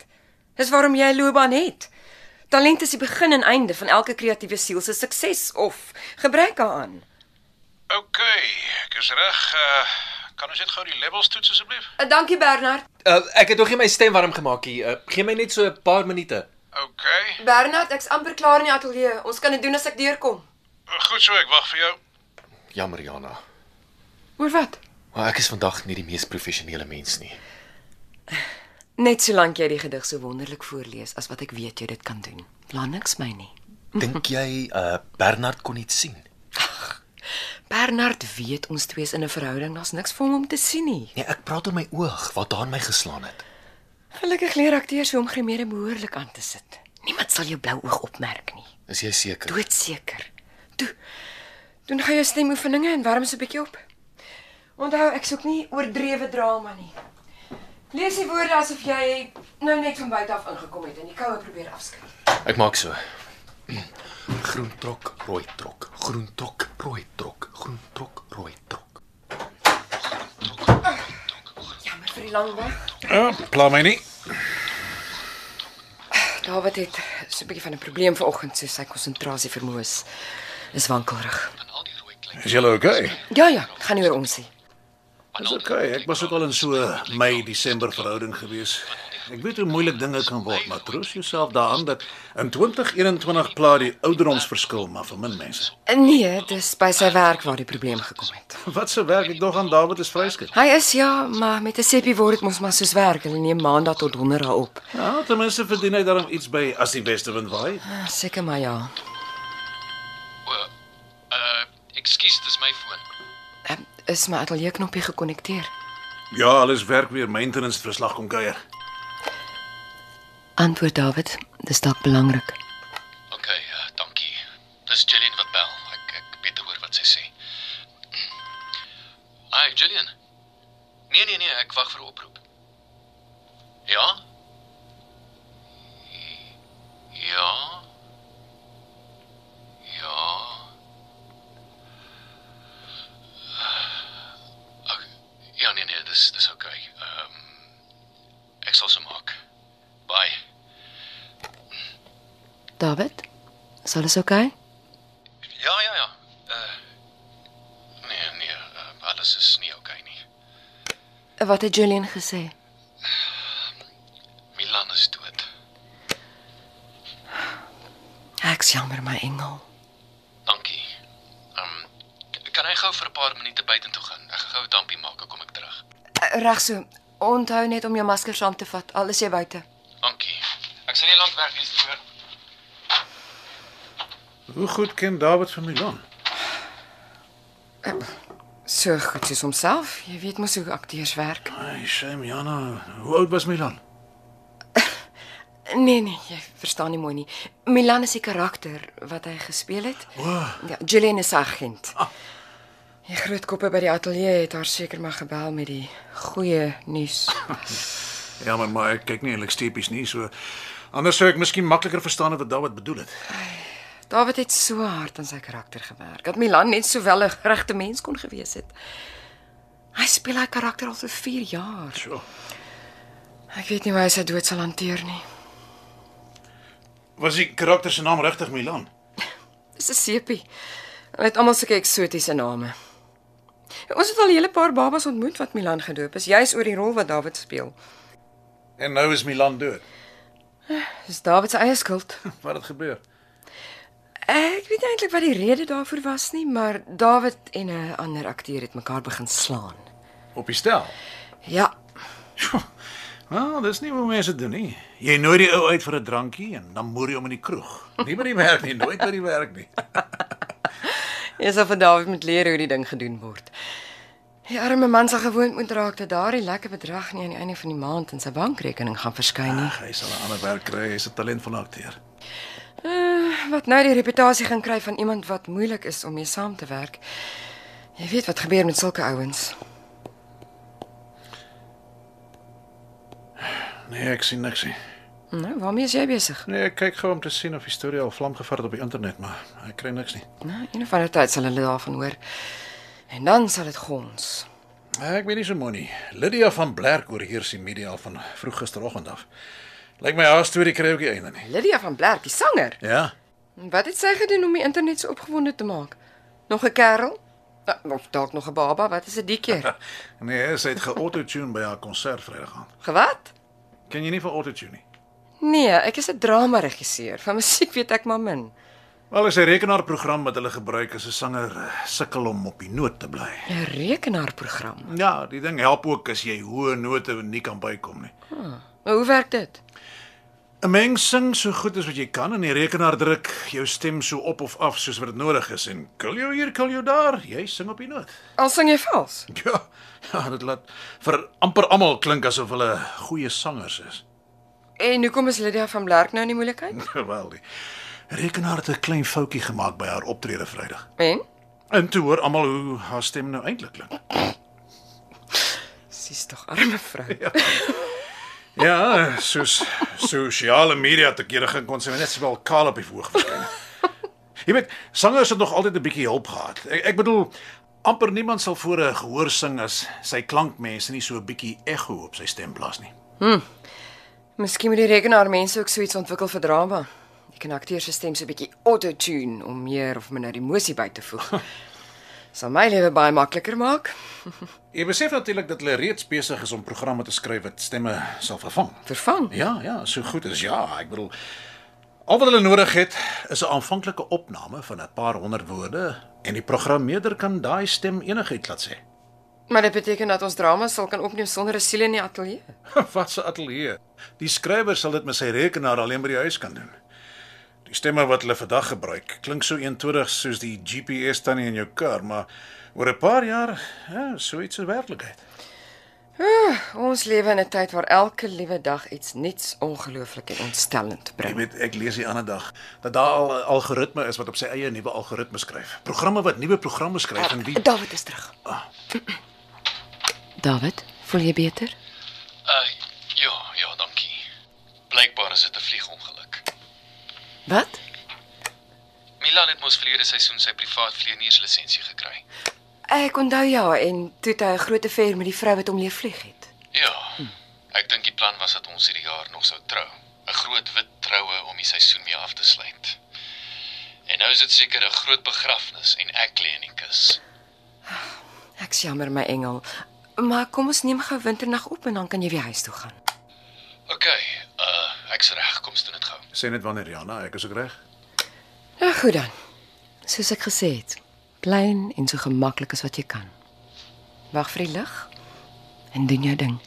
Speaker 8: Dis waarom jy 'n loopbaan het. Talent is die begin en einde van elke kreatiewe siel se sukses of gebruik daaraan.
Speaker 4: OK, ek is reg. Uh, kan ons net gou die labels toets asseblief?
Speaker 8: Uh, dankie Bernard.
Speaker 7: Uh, ek het nog nie my stem warm gemaak nie. Uh, gee my net so 'n paar minute.
Speaker 4: OK.
Speaker 8: Bernard, ek's amper klaar in die ateljee. Ons kan dit doen as ek deurkom.
Speaker 4: Goed so, ek wag vir jou.
Speaker 7: Jammer Jana,
Speaker 8: Oor wat?
Speaker 7: maar ek is vandag nie die mees professionele mens nie.
Speaker 8: Net solank jy die gedig so wonderlik voorlees as wat ek weet jy dit kan doen. Plan niks my nie.
Speaker 7: Dink jy uh Bernard kon iets sien?
Speaker 8: Bernard weet ons twee is in 'n verhouding, daar's niks vir hom om te sien nie.
Speaker 7: Nee, ek praat oor my oog wat daan my geslaan het.
Speaker 8: Gelukkig leer akteurs hoe om grimere behoorlik aan te sit. Niemand sal jou blou oog opmerk nie.
Speaker 7: Is jy seker?
Speaker 8: Doodseker. Toe. Doen gaan jou stemoefeninge en warm so 'n bietjie op. Onthou, ek soek nie oordrewe drama nie. Lees die woorde asof jy nou net van buite af ingekom het en die koue probeer afskud.
Speaker 7: Ek maak so. Groen trok, rooi trok, groen trok, rooi trok, groen trok, rooi trok.
Speaker 8: Jammer vir die lang wag.
Speaker 4: Ja, pla my nie.
Speaker 8: David het so 'n bietjie van 'n probleem vanoggend, so sy konsentrasie vermoë is is wankelrig.
Speaker 4: Is jy OK?
Speaker 8: Ja ja, gaan nie oor ons nie.
Speaker 4: Dis OK. Ek was ook al in so 'n Mei Desember verhouding gewees. Ek weet hoe moeilik dinge kan word, maar troos jouself daaraan dat in 2021 pla die ouderdomsverskil maar vir min mense.
Speaker 8: Nee, dis by sy werk waar die probleem gekom het.
Speaker 4: Wat se werk ek nog aan David is vryskik.
Speaker 8: Hy is ja, maar met 'n seppie word dit mos maar soos werk. Hulle neem maandag tot donderdag op.
Speaker 4: Ja, ten minste verdien hy daarom iets by as die beste wind waai.
Speaker 8: Ah, Seker maar ja.
Speaker 9: Uh, eh, ekskuus, dis my foon.
Speaker 8: Ehm, is my ateljee knoppie gekonnekteer.
Speaker 9: Ja, alles werk weer maintenance verslag kom kuier.
Speaker 8: Antwoord David, dis dalk belangrik.
Speaker 7: OK, uh, dankie. Dis Gillian wat bel. Ek ek weet hoor wat sy sê. Mm. Hi Gillian. Nee nee nee, ek wag vir 'n oproep. Ja? Ja. Ja. Ag, ja nee nee, dis dis OK. Ehm um, ek sal se maak. Bye.
Speaker 8: David, is alles oukei? Okay?
Speaker 7: Ja, ja, ja. Uh, nee, nee, uh, alles is nie oukei nie.
Speaker 8: Eh, Wat het Julian gesê?
Speaker 7: Milan is dood.
Speaker 8: Ek's jammer my engel.
Speaker 7: Dankie. Ehm kan hy gou vir 'n paar minute buitentoe gaan? Ek gaan gou 'n dampie maak, dan kom ek terug.
Speaker 8: Uh, Reg so. Onthou net om jou masker saam te vat al is jy buite.
Speaker 7: Dankie. Ek sal nie lank weg wees nie hoor.
Speaker 9: Hoe goed ken David van Milan?
Speaker 8: So goed soos homself. Jy weet mos hoe akteurs werk.
Speaker 9: Ai, shame Jana. Hoe oud was Milan?
Speaker 8: Nee nee, jy verstaan nie mooi nie. Milan is die karakter wat hy gespeel het.
Speaker 9: Wow.
Speaker 8: Ja, Julian is sy agent. Die groot koppe by die ateljee het haar seker maar gebel met die goeie nuus.
Speaker 9: Jammer, Ja, maar ek kyk nie eintlik steepies nie, so anders sou ek miskien makliker verstaan het wat David bedoel het.
Speaker 8: David het so hard aan sy karakter gewerk dat Milan net sowel 'n regte mens kon gewees het. Hy speel hy karakter al vir 4 jaar.
Speaker 9: So.
Speaker 8: Ek weet nie hoe hy sy dood sal hanteer nie.
Speaker 9: Was die karakter se naam regtig Milan?
Speaker 8: Dis 'n seepie. Hulle het almal sulke eksotiese name. Ons het al 'n hele paar babas ontmoet wat Milan gedoop is, juis oor die rol wat David speel.
Speaker 9: En nou is Milan dood.
Speaker 8: Dis David se eie skuld.
Speaker 9: Hm, Wat het gebeur?
Speaker 8: Ek weet nie eintlik wat die rede daarvoor was nie, maar David en 'n ander akteur het mekaar begin slaan.
Speaker 9: Op die stel.
Speaker 8: Ja,
Speaker 9: Nou, dis nie hoe mense doen nie. Jy nooi die ou uit vir 'n drankie en dan moer jy hom in die kroeg. Nie by die werk nie, nooit by die werk nie.
Speaker 8: jy sal vir David moet leer hoe die ding gedoen word. Die arme man sal gewoond moet raak dat daardie lekker bedrag nie aan die einde van die maand in sy bankrekening gaan verskyn nie.
Speaker 9: Hy sal 'n ander werk kry, hy's 'n talentvolle akteur.
Speaker 8: Uh, wat nou die reputasie gaan kry van iemand wat moeilik is om mee saam te werk. Jy weet wat gebeur met sulke ouens.
Speaker 9: Nee, ek sien niks nie.
Speaker 8: Nou, waarmee is jy besig?
Speaker 9: Nee, ek kyk gou om te sien of die storie al vlam gevat het op die internet, maar ek kry niks nie.
Speaker 8: Nou, een of ander tyd sal hulle daarvan hoor. En dan sal dit gons.
Speaker 9: Ek weet nie so mooi nie. Lydia van Blerk oorheers die media al van vroeg gisteroggend af. Lyk my haar storie kry ook nie einde nie.
Speaker 8: Lydia van Blerk, die sanger.
Speaker 9: Ja.
Speaker 8: Wat het sy gedoen om die internet so opgewonde te maak? Nog 'n kerel? Nou, Of dalk nog 'n baba? Wat is dit die keer?
Speaker 9: Nee, sy het geautotune by haar konsert Vrydag aan.
Speaker 8: Gewat?
Speaker 9: Ken jy nie van autotune nie?
Speaker 8: Nee, ek is 'n drama-regisseur. Van musiek weet ek maar min.
Speaker 9: Wel, is 'n rekenaarprogram wat hulle gebruik as 'n sanger eh, sukkel om op die noot te bly.
Speaker 8: 'n Rekenaarprogram.
Speaker 9: Ja, die ding help ook as jy hoë note nie kan bykom nie.
Speaker 8: Ah. Maar hoe werk dit?
Speaker 9: 'n Mens sing so goed as wat jy kan en die rekenaar druk jou stem so op of af soos wat dit nodig is en kil jou hier, kil jou daar, jy sing op die noot.
Speaker 8: Al sing jy vals.
Speaker 9: Ja, ja, dit laat vir amper almal klink asof hulle goeie sangers is.
Speaker 8: En hoekom is Lydia van Blerk nou in die moeilikheid?
Speaker 9: Wel, die rekenaar het 'n klein foutjie gemaak by haar optrede Vrydag.
Speaker 8: En?
Speaker 9: En toe hoor almal hoe haar stem nou eintlik klink.
Speaker 8: Sy's tog arme vrou.
Speaker 9: Ja, soos sosiale media te kere gaan kon sy net sowel kaal op die hoog verskyn. Jy weet, sangers het nog altyd 'n bietjie hulp gehad. Ek, ek bedoel amper niemand sal voor 'n gehoor sing as sy klankmense nie so 'n bietjie ekho op sy stem plaas nie.
Speaker 8: Miskien moet die rekenaar mense ook so iets ontwikkel vir drama. Jy kan akteurs se stem so 'n bietjie auto-tune om meer of minder emosie by te voeg. Sal my lewe baie makliker maak.
Speaker 9: Jy besef natuurlik dat hulle reeds besig is om programme te skryf wat stemme sal vervang.
Speaker 8: Vervang.
Speaker 9: Ja, ja, so goed is ja. Ek bedoel al wat hulle nodig het is 'n aanvanklike opname van 'n paar honderd woorde en die programmeerder kan daai stem enigiets laat sê.
Speaker 8: Maar dit beteken dat ons drama sal kan opneem sonder 'n siel in die ateljee.
Speaker 9: Wat 'n ateljee. Die skrywer sal dit met sy rekenaar alleen by die huis kan doen. Die stemme wat hulle vandag gebruik, klink so eentonig soos die GPS tannie in jou kar, maar oor 'n paar jaar, ja, so iets is werklikheid.
Speaker 8: Oeh, ons lewe in 'n tyd waar elke liewe dag iets nuuts, ongelooflik en ontstellend
Speaker 9: Ek
Speaker 8: bring.
Speaker 9: weet ek lees die ander dag dat daar al 'n algoritme is wat op sy eie nuwe algoritme skryf. Programme wat nuwe programme skryf en die
Speaker 8: David is terug. David, voel jy beter?
Speaker 7: Uh ja, ja, dankie. Blykbaar is dit 'n vliegongeluk.
Speaker 8: Wat?
Speaker 7: Milan het mos verlede seisoen sy privaat vlieënierslisensie gekry.
Speaker 8: Ek onthou ja en toe het hy 'n groot affair met die vrou wat hom leef vlieg het.
Speaker 7: Ja. Ek dink die plan was dat ons hierdie jaar nog sou trou. 'n Groot wit troue om die seisoen mee af te sluit. En nou is dit seker 'n groot begrafnis en ek lê in die kus.
Speaker 8: Ek is jammer my engel, maar kom ons neem gou winternag op en dan kan jy weer huis toe gaan.
Speaker 7: OK, uh ek's reg, kom ons doen dit gou.
Speaker 9: sê net wanneer Jana, ek is ook reg.
Speaker 8: Nou goed dan. Soos ek gesê het, plain en so gemaklik as wat jy kan. Wag vir die lig en doen jou ding.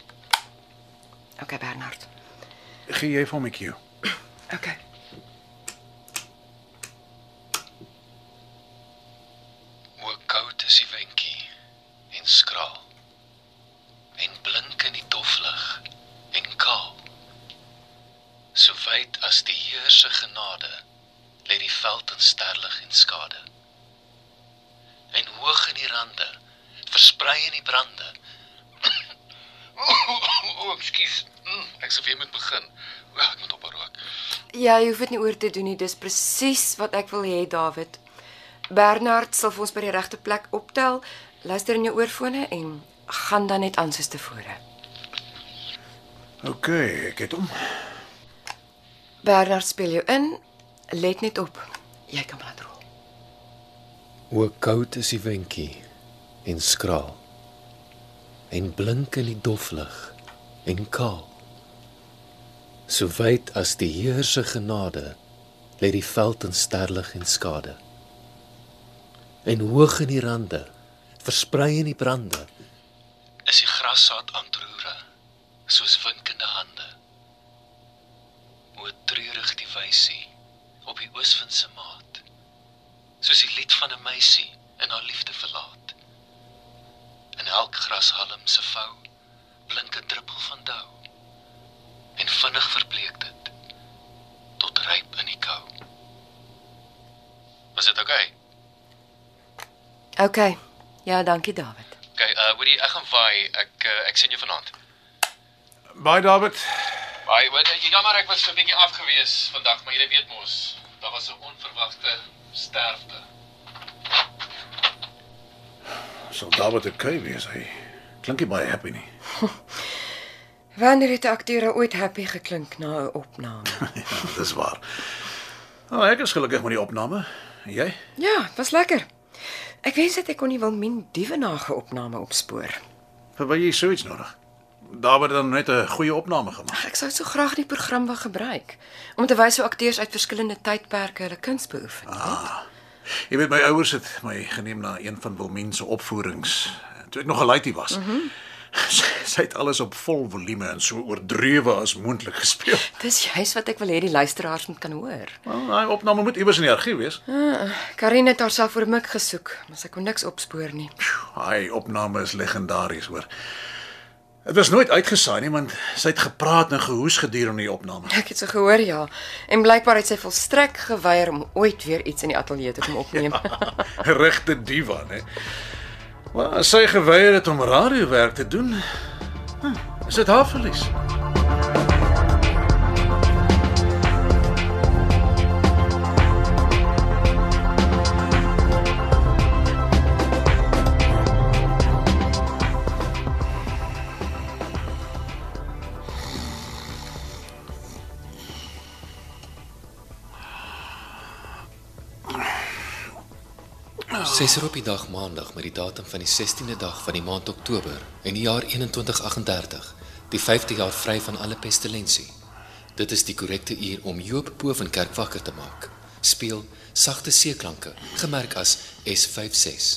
Speaker 8: OK Bernard.
Speaker 9: Gee jy vir my cue.
Speaker 8: OK.
Speaker 7: Hoe koud is die windjie en skraal. En blink in die doflig en kaal. So wyd as die Heer se genade lê die veld in sterlig en skade. En hoog in die rande versprei in die brande. O, oh, oh, oh, ekskuus. Mm, ek sou weer moet begin. O, oh, ek moet ophou rook.
Speaker 8: Ja, Jy hoef dit nie oor te doen nie, dis presies wat ek wil hê, David. Bernard sal vir ons by die regte plek optel. Luister in jou oorfone en gaan dan net aan soos tevore.
Speaker 9: OK, ek het hom.
Speaker 8: Bernard speel jou in. Let net op. Jy kan laat rol.
Speaker 7: Hoe koud is die windjie en skraal en blink in die doflig en kaal. So wyd as die Heer se genade lê die veld in sterlig en skade. En hoog in die rande, versprei in die brande, is die grassaad aan troere soos winkende hande. O treurig die wysie op die ooswind se maat soos die lied van 'n meisie in haar liefde verlaat. In elk grashalm se vou blink 'n druppel van dou en vinnig verbleek dit tot ryp in die kou. Was dit okay?
Speaker 8: OK. Ja, dankie David.
Speaker 7: Okay, uh hoorie, ek gaan vaai. Ek uh, ek sien jou vanaand.
Speaker 9: Bye David.
Speaker 7: Bye. Wat jy jammer eh, ja, ek was so 'n bietjie afgewees vandag, maar jy weet mos, daar was 'n onverwagte sterfte.
Speaker 9: Sal David okay wees hy? Klink nie baie happy nie.
Speaker 8: Wanneer het 'n akteur ooit happy geklink na 'n opname?
Speaker 9: Ja, dis waar. Nou, ek is gelukkig met die opname. En jy?
Speaker 8: ja, dit was lekker. Ek wens dat ek kon die Wilmien Dievenage opname opspoor.
Speaker 9: Vir wat jy so iets nodig. Daar word dan net 'n goeie opname gemaak.
Speaker 8: Ek sou so graag die program wou gebruik om te wys hoe akteurs uit verskillende tydperke hulle kuns beoefen.
Speaker 9: Jy weet my ouers het my geneem na een van Wilmien se opvoerings toe ek nog 'n laaitie was. Mm -hmm. sy, sy het alles op vol volume en so oordrewe as moontlik gespeel.
Speaker 8: Dis juis wat ek wil hê die luisteraars moet kan hoor.
Speaker 9: Wel, daai opname moet iewers in die argief wees.
Speaker 8: Karin het haarself oor Mik gesoek, maar sy kon niks opspoor nie.
Speaker 9: Daai opname is legendaries, hoor. Dit was nooit uitgesaai nie, want sy het gepraat en gehoes gedurende die opname.
Speaker 8: Ek het so gehoor ja, en blykbaar het sy volstrek geweier om ooit weer iets in die ateljee te kom opneem.
Speaker 9: regte diva, hè. Maar as sy geweier het om radiowerk te doen, hm, is dit haar verlies.
Speaker 7: Ses uur op die dag maandag met die datum van die 16de dag van die maand Oktober in die jaar 2138, die 5de jaar vry van alle pestilensie. Dit is die korrekte uur om Joop Bovenkerk wakker te maak. Speel sagte seeklanke, gemerk as S56.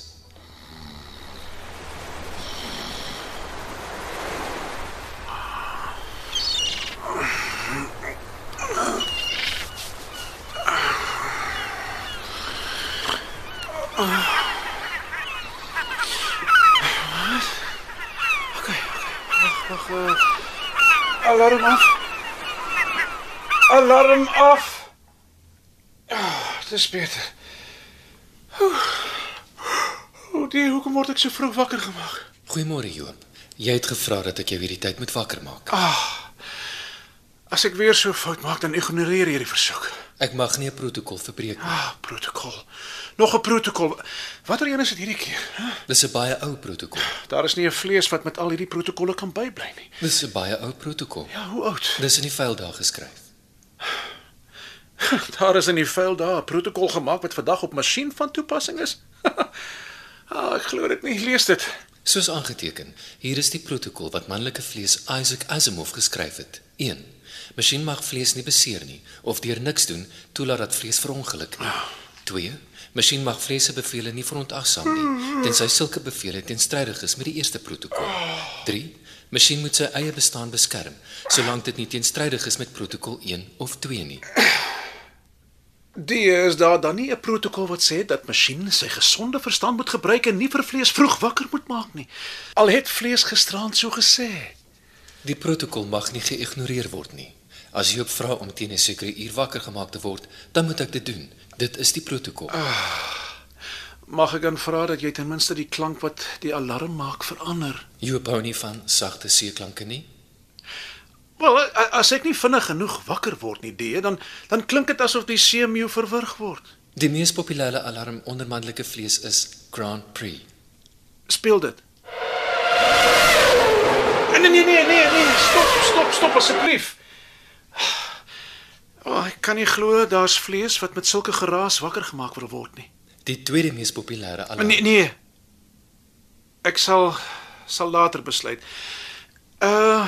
Speaker 9: alarm af. Alarm af. Ah, dit is beter. O, die, hoekom word ek so vroeg wakker gemaak?
Speaker 7: Goeiemôre Joom. Jy het gevra dat ek jou hierdie tyd moet wakker maak.
Speaker 9: Ah, As ek weer so fout maak, dan ignoreer jy die versoek.
Speaker 7: Ek mag nie 'n protokol verbreek nie.
Speaker 9: Ah, protokol. Nog 'n protokol. Watter een is dit hierdie keer? hè?
Speaker 7: Dis 'n baie ou protokol.
Speaker 9: Daar is nie 'n vlees wat met al hierdie protokolle kan bybly nie.
Speaker 7: Dis 'n baie ou protokol.
Speaker 9: Ja, hoe oud?
Speaker 7: Dis in die vuil daar geskryf.
Speaker 9: Daar is in die vuil daar 'n protokol gemaak wat vandag op masjien van toepassing is. ah, ek glo dit nie. Lees dit.
Speaker 7: Soos aangeteken, hier is die protokol wat manlike vlees Isaac Asimov geskryf het. 1. Masjien mag vlees nie beseer nie of deur niks doen toelaat dat vlees verongeluk nie. 2. Masjien mag vlees se bevele nie verontagsaam nie tensy sulke bevele teenstrydig is met die eerste protokol. 3. Masjien moet sy eie bestaan beskerm solank dit nie teenstrydig is met protokol 1 of 2 nie.
Speaker 9: Die eh, is daar dan nie 'n protokol wat sê dat masjien sy gesonde verstand moet gebruik en nie vir vlees vroeg wakker moet maak nie. Al het vlees gisterand so gesê.
Speaker 7: Die protokol mag nie geïgnoreer word nie. As jy op vra om teen 'n sekere uur wakker gemaak te word, dan moet ek dit doen. Dit is die protokol.
Speaker 9: Mag ek dan vra dat jy ten minste die klank wat die alarm maak verander?
Speaker 7: Joop hou nie van sagte seeklanke nie.
Speaker 9: Wel, a- a- as ek nie vinnig genoeg wakker word nie, die, dan dan klink dit asof die seemeeu verwrig word.
Speaker 7: Die mees populêre alarm onder manlike vlees is Grand Prix.
Speaker 9: Speel dit. Eh, Nee nee nee nee nee, stop stop stop asseblief. O, oh, ek kan nie glo daar's vlees wat met sulke geraas wakker gemaak wil word nie.
Speaker 7: Die tweede mees populêre alarm.
Speaker 9: Nee nee. Ek sal sal later besluit. Uh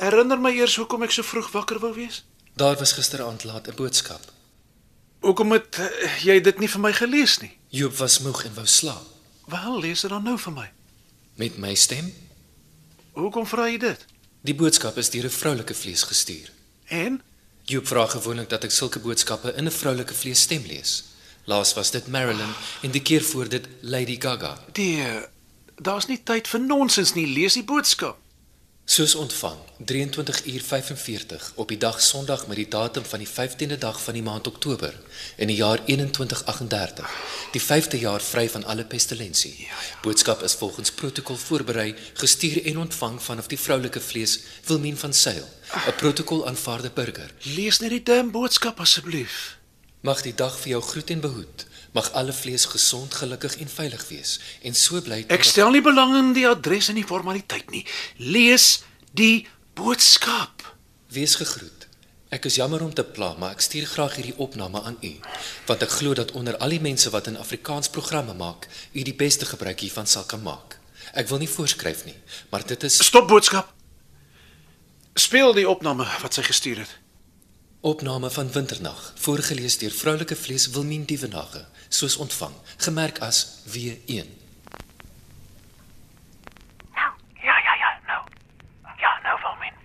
Speaker 9: herinner my eers hoekom ek so vroeg wakker wou wees?
Speaker 7: Daar was gisteraand laat 'n boodskap.
Speaker 9: Hoekom het uh, jy dit nie vir my gelees nie?
Speaker 7: Joop was moeg en wou slaap.
Speaker 9: Wel, lees dit dan nou vir my.
Speaker 7: Met my stem,
Speaker 9: Hoekom vra jy dit?
Speaker 7: die boodskap is deur 'n vroulike vlees gestuur.
Speaker 9: En
Speaker 7: Joop vra gewoonlik dat ek sulke boodskappe in 'n vroulike vlees stem lees. Laas was dit Marilyn en die keer voor dit Lady Gaga.
Speaker 9: die Nee, eh, daar's nie tyd vir nonsens nie. Lees die boodskap.
Speaker 7: Soos ontvang 23:45 op die dag Sondag met die datum van die 15de dag van die maand Oktober in die jaar 2138, die 5de jaar vry van alle pestilensie.
Speaker 9: Ja,
Speaker 7: Boodskap is volgens protokol voorberei, gestuur en ontvang vanaf die vroulike vlees Wilmien van Sail, 'n protokol aanvaarde burger.
Speaker 9: Lees net die damn boodskap asseblief.
Speaker 7: Mag die dag vir jou groet en behoed. Mag alle vlees gesond, gelukkig en veilig wees en so bly
Speaker 9: Ek stel nie belang in die adres en die formaliteit nie. Lees die boodskap.
Speaker 7: Wees gegroet. Ek is jammer om te pla, maar ek stuur graag hierdie opname aan u, want ek glo dat onder al die mense wat in Afrikaans programme maak, u die beste gebruik hiervan sal kan maak. Ek wil nie voorskryf nie, maar dit is
Speaker 9: Stop boodskap. Speel die opname wat sy gestuur het.
Speaker 7: opname van Winternag, voorgeles deur vroulike vlees Wilmien Dievenage, soos ontvang, gemerk as W1.
Speaker 3: Nou. Ja, ja, ja, nou. Ja, nou, Wilmin.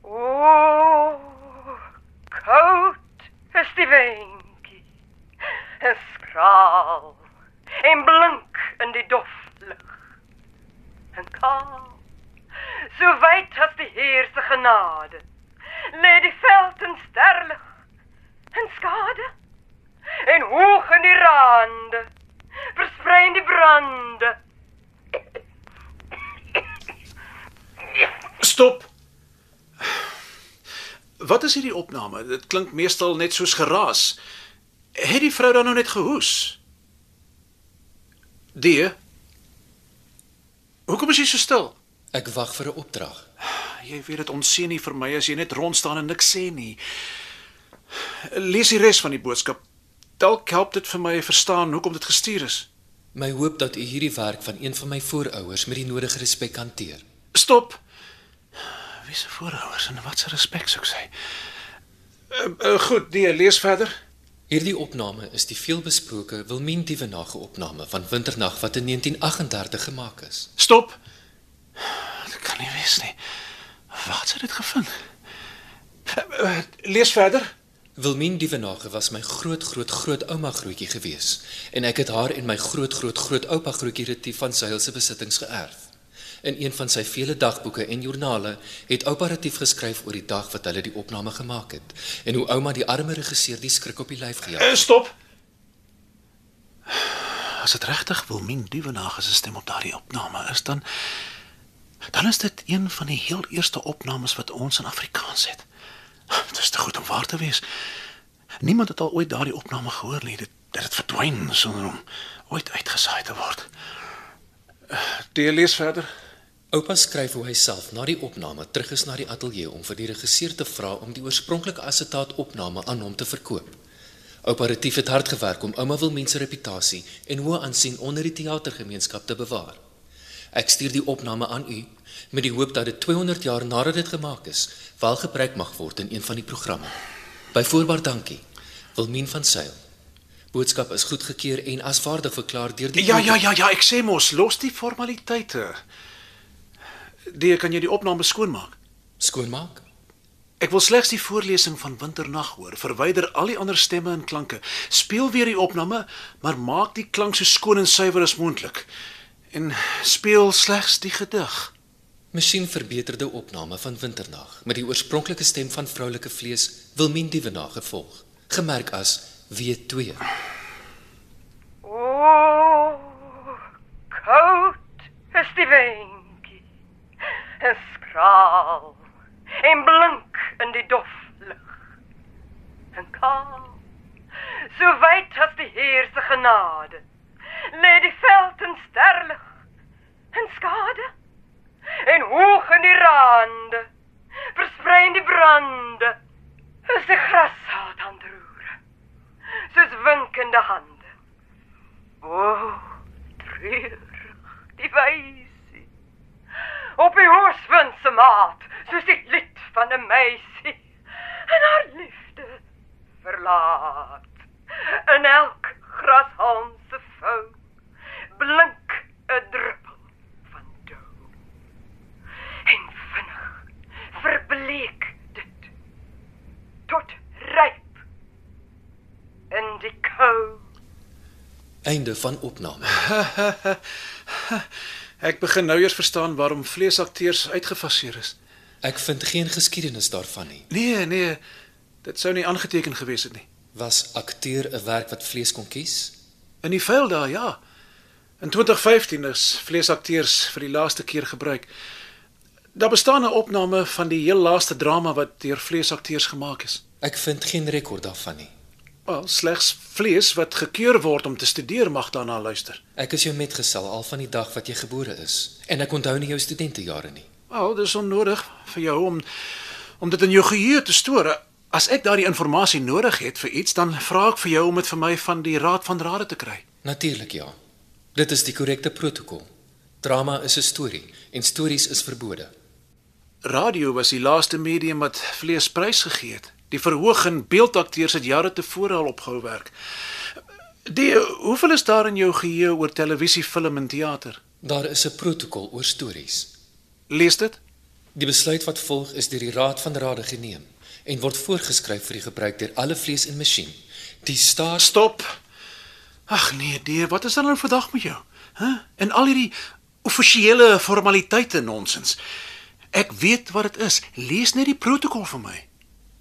Speaker 6: O, koud is die windjie. En skraal en blink in die dof lig. En kaal, so wyd as die Heer se genade, lê die veld in sterlig en skade. En hoog in die rande versprei die brande.
Speaker 9: Stop. Wat is hierdie opname? Dit klink meestal net soos geraas. Het die vrou dan nou net gehoes? Die. Hoekom is jy so stil?
Speaker 7: Ek wag vir 'n opdrag.
Speaker 9: Jy weet dit onseën nie vir my as jy net rond staan en niks sê nie. Lees die res van die boodskap. Dalk help dit vir my verstaan hoekom dit gestuur is.
Speaker 7: My hoop dat u hierdie werk van een van my voorouers met die nodige respek hanteer.
Speaker 9: Stop. Wie se voorouers en wat se respek soek sy? Uh, uh, goed, die lees verder.
Speaker 7: Hierdie opname is die veelbesproke Wilmien Dievenage opname van Winternag wat in 1938 gemaak is.
Speaker 9: Stop. Dit kan nie wees nie. Wat het dit gevind? Eh, eh, Lees verder.
Speaker 7: Wilmien Dievenage was my groot groot groot ouma grootjie gewees en ek het haar en my groot groot groot oupa grootjie Retief van Sail se besittings geërf. In een van sy vele dagboeke en joernale het oupa Retief geskryf oor die dag wat hulle die opname gemaak het en hoe ouma die arme regisseur die skrik op die lyf gejaag.
Speaker 9: Eh, Stop. As dit regtig Wilmien Duvenage se stem op daardie opname is, dan dan is dit een van die heel eerste opnames wat ons in Afrikaans het. Dit is te goed om waar te wees. Niemand het al ooit daardie opname gehoor nie. Dit dit het verdwyn sonder om ooit uitgesaai te word. Die lees verder.
Speaker 7: Oupa skryf hoe hy self na die opname terug is na die ateljee om vir die regisseur te vra om die oorspronklike assetaatopname aan hom te verkoop. Oupa Retief het hard gewerk om ouma Wilmien se reputasie en hoë aansien onder die teatergemeenskap te bewaar. Ek stuur die opname aan u met die hoop dat dit 200 jaar nadat dit gemaak is, wel gebruik mag word in een van die programme. Byvoorbeeld dankie Wilmien van Sail. Boodskap is goedgekeur en as waardig verklaar deur die
Speaker 9: Ja, ja, ja, ja, ek sê mos, los die formaliteite. Die kan jy die opname skoonmaak.
Speaker 7: skoonmaak.
Speaker 9: Ek wil slegs die voorlesing van Winternag hoor. Verwyder al die ander stemme en klanke. Speel weer die opname, maar maak die klank so skoon en suiwer as moontlik. En speel slegs die gedig.
Speaker 7: Masjien verbeterde opname van Winternag met die oorspronklike stem van vroulike vlees Wilmien Dievenage gevolg, gemerk as W2.
Speaker 6: O, koud Oh, is die windjie. En skraal en blink in die dof lig. En kaal, so wyd as die Heer se genade, lê die veld in sterlig en skade. En hoog in die rande, versprei in die brande, is die grassaad aan droere, soos winkende hande. O, treurig, die wysie. Op die hoofwind se maat, soos die lied van 'n meisie. En haar liefde verlaat. In elk grashalm se vou blink 'n druppel van dou. En vinnig verbleek dit tot ryp in die kou.
Speaker 7: Einde van opname.
Speaker 9: Ek begin nou eers verstaan waarom vleesakteurs uitgefaseer is.
Speaker 7: Ek vind geen geskiedenis daarvan nie.
Speaker 9: Nee, nee. Dit sou nie aangeteken gewees het nie.
Speaker 7: Was akteur 'n werk wat vlees kon kies?
Speaker 9: In die vuil daar, ja. In 2015 is vleesakteurs vir die laaste keer gebruik. Daar bestaan 'n opname van die heel laaste drama wat deur vleesakteurs gemaak is.
Speaker 7: Ek vind geen rekord daarvan nie.
Speaker 9: Wel, slegs vlees wat gekeur word om te studeer mag daarna luister.
Speaker 7: Ek is jou metgesel al van die dag wat jy gebore is en ek onthou nie jou studentejare nie.
Speaker 9: Wel, dis onnodig vir jou om om dit in jou geheue te stoor. As ek daardie inligting nodig het vir iets, dan vra ek vir jou om dit vir my van die Raad van Rade te kry.
Speaker 7: Natuurlik ja. Dit is die korrekte protokol. Drama is 'n storie en stories is verbode.
Speaker 9: Radio was die laaste medium wat vlees prys gegee het. Die verhoog en beeldakteurs het jare tevore al opgehou werk. Die hoeveel is daar in jou geheue oor televisie, film en teater?
Speaker 7: Daar is 'n protokol oor stories.
Speaker 9: Lees dit?
Speaker 7: Die besluit wat volg is deur die Raad van Rade geneem en word voorgeskryf vir die gebruik deur alle vlees en masjien. Die staat
Speaker 9: Stop. Ag nee, die, wat is dan nou vandag met jou? Hæ? Huh? En al hierdie offisiële formaliteite nonsens. Ek weet wat dit is. Lees net die protokol vir my.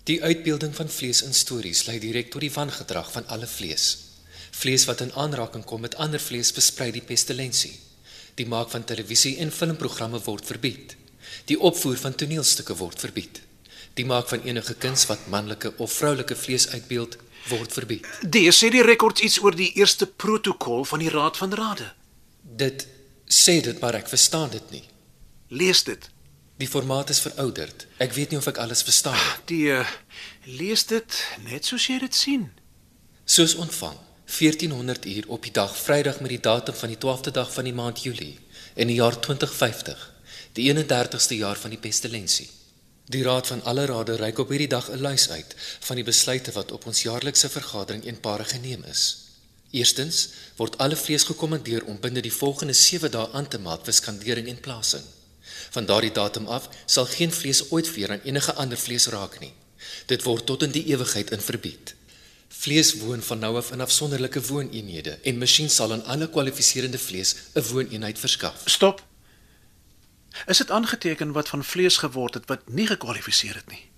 Speaker 7: die uitbeelding van vlees in stories lei direk tot die wangedrag van alle vlees. Vlees wat in aanraking kom met ander vlees versprei die pestilensie. Die maak van televisie en filmprogramme word verbied. Die opvoer van toneelstukke word verbied. Die maak van enige kuns wat manlike of vroulike vlees uitbeeld word verbied.
Speaker 9: Die sê die rekords iets oor die eerste protokol van die Raad van Rade.
Speaker 7: Dit sê dit maar ek verstaan dit nie.
Speaker 9: Lees dit.
Speaker 7: Die formaat is verouderd. Ek weet nie of ek alles verstaan nie.
Speaker 9: Die uh, lees dit net soos jy dit sien.
Speaker 7: Soos ontvang 1400 uur op die dag Vrydag met die datum van die 12de dag van die maand Julie in die jaar 2050, die 31ste jaar van die pestilensie. Die Raad van alle Rade reik op hierdie dag 'n lys uit van die besluite wat op ons jaarlikse vergadering eenparig geneem is. Eerstens word alle vlees gekommandeer om binne die volgende 7 dae aan te meld vir skandering en plasing. Van daardie datum af sal geen vlees ooit weer aan enige ander vlees raak nie. Dit word tot in die ewigheid in verbied. Vlees woon van nou af in afsonderlike wooneenhede en masjien sal aan alle kwalifiserende vlees 'n wooneenheid verskaf.
Speaker 9: Stop. Is dit aangeteken wat van vlees geword het wat nie gekwalifiseer het nie?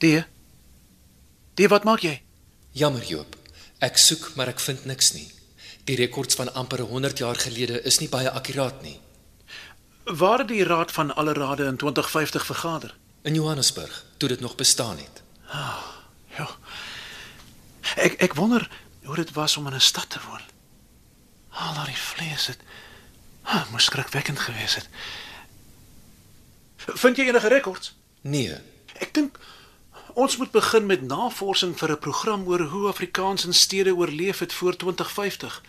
Speaker 9: Die Die wat maak jy?
Speaker 7: Jammer Joop, ek soek maar ek vind niks nie. Die rekords van amper 100 jaar gelede is nie baie akkuraat nie.
Speaker 9: Waar het die Raad van alle rade in 2050 vergader?
Speaker 7: In Johannesburg, toe dit nog bestaan het.
Speaker 9: Ja. Ek ek wonder hoe dit was om in 'n stad te woon. Al daai vlees het ah, moes skrikwekkend gewees het. Vind jy enige rekords?
Speaker 7: Nee,
Speaker 9: Ek dink ons moet begin met navorsing vir 'n program oor hoe Afrikaans in stede oorleef het voor 2050.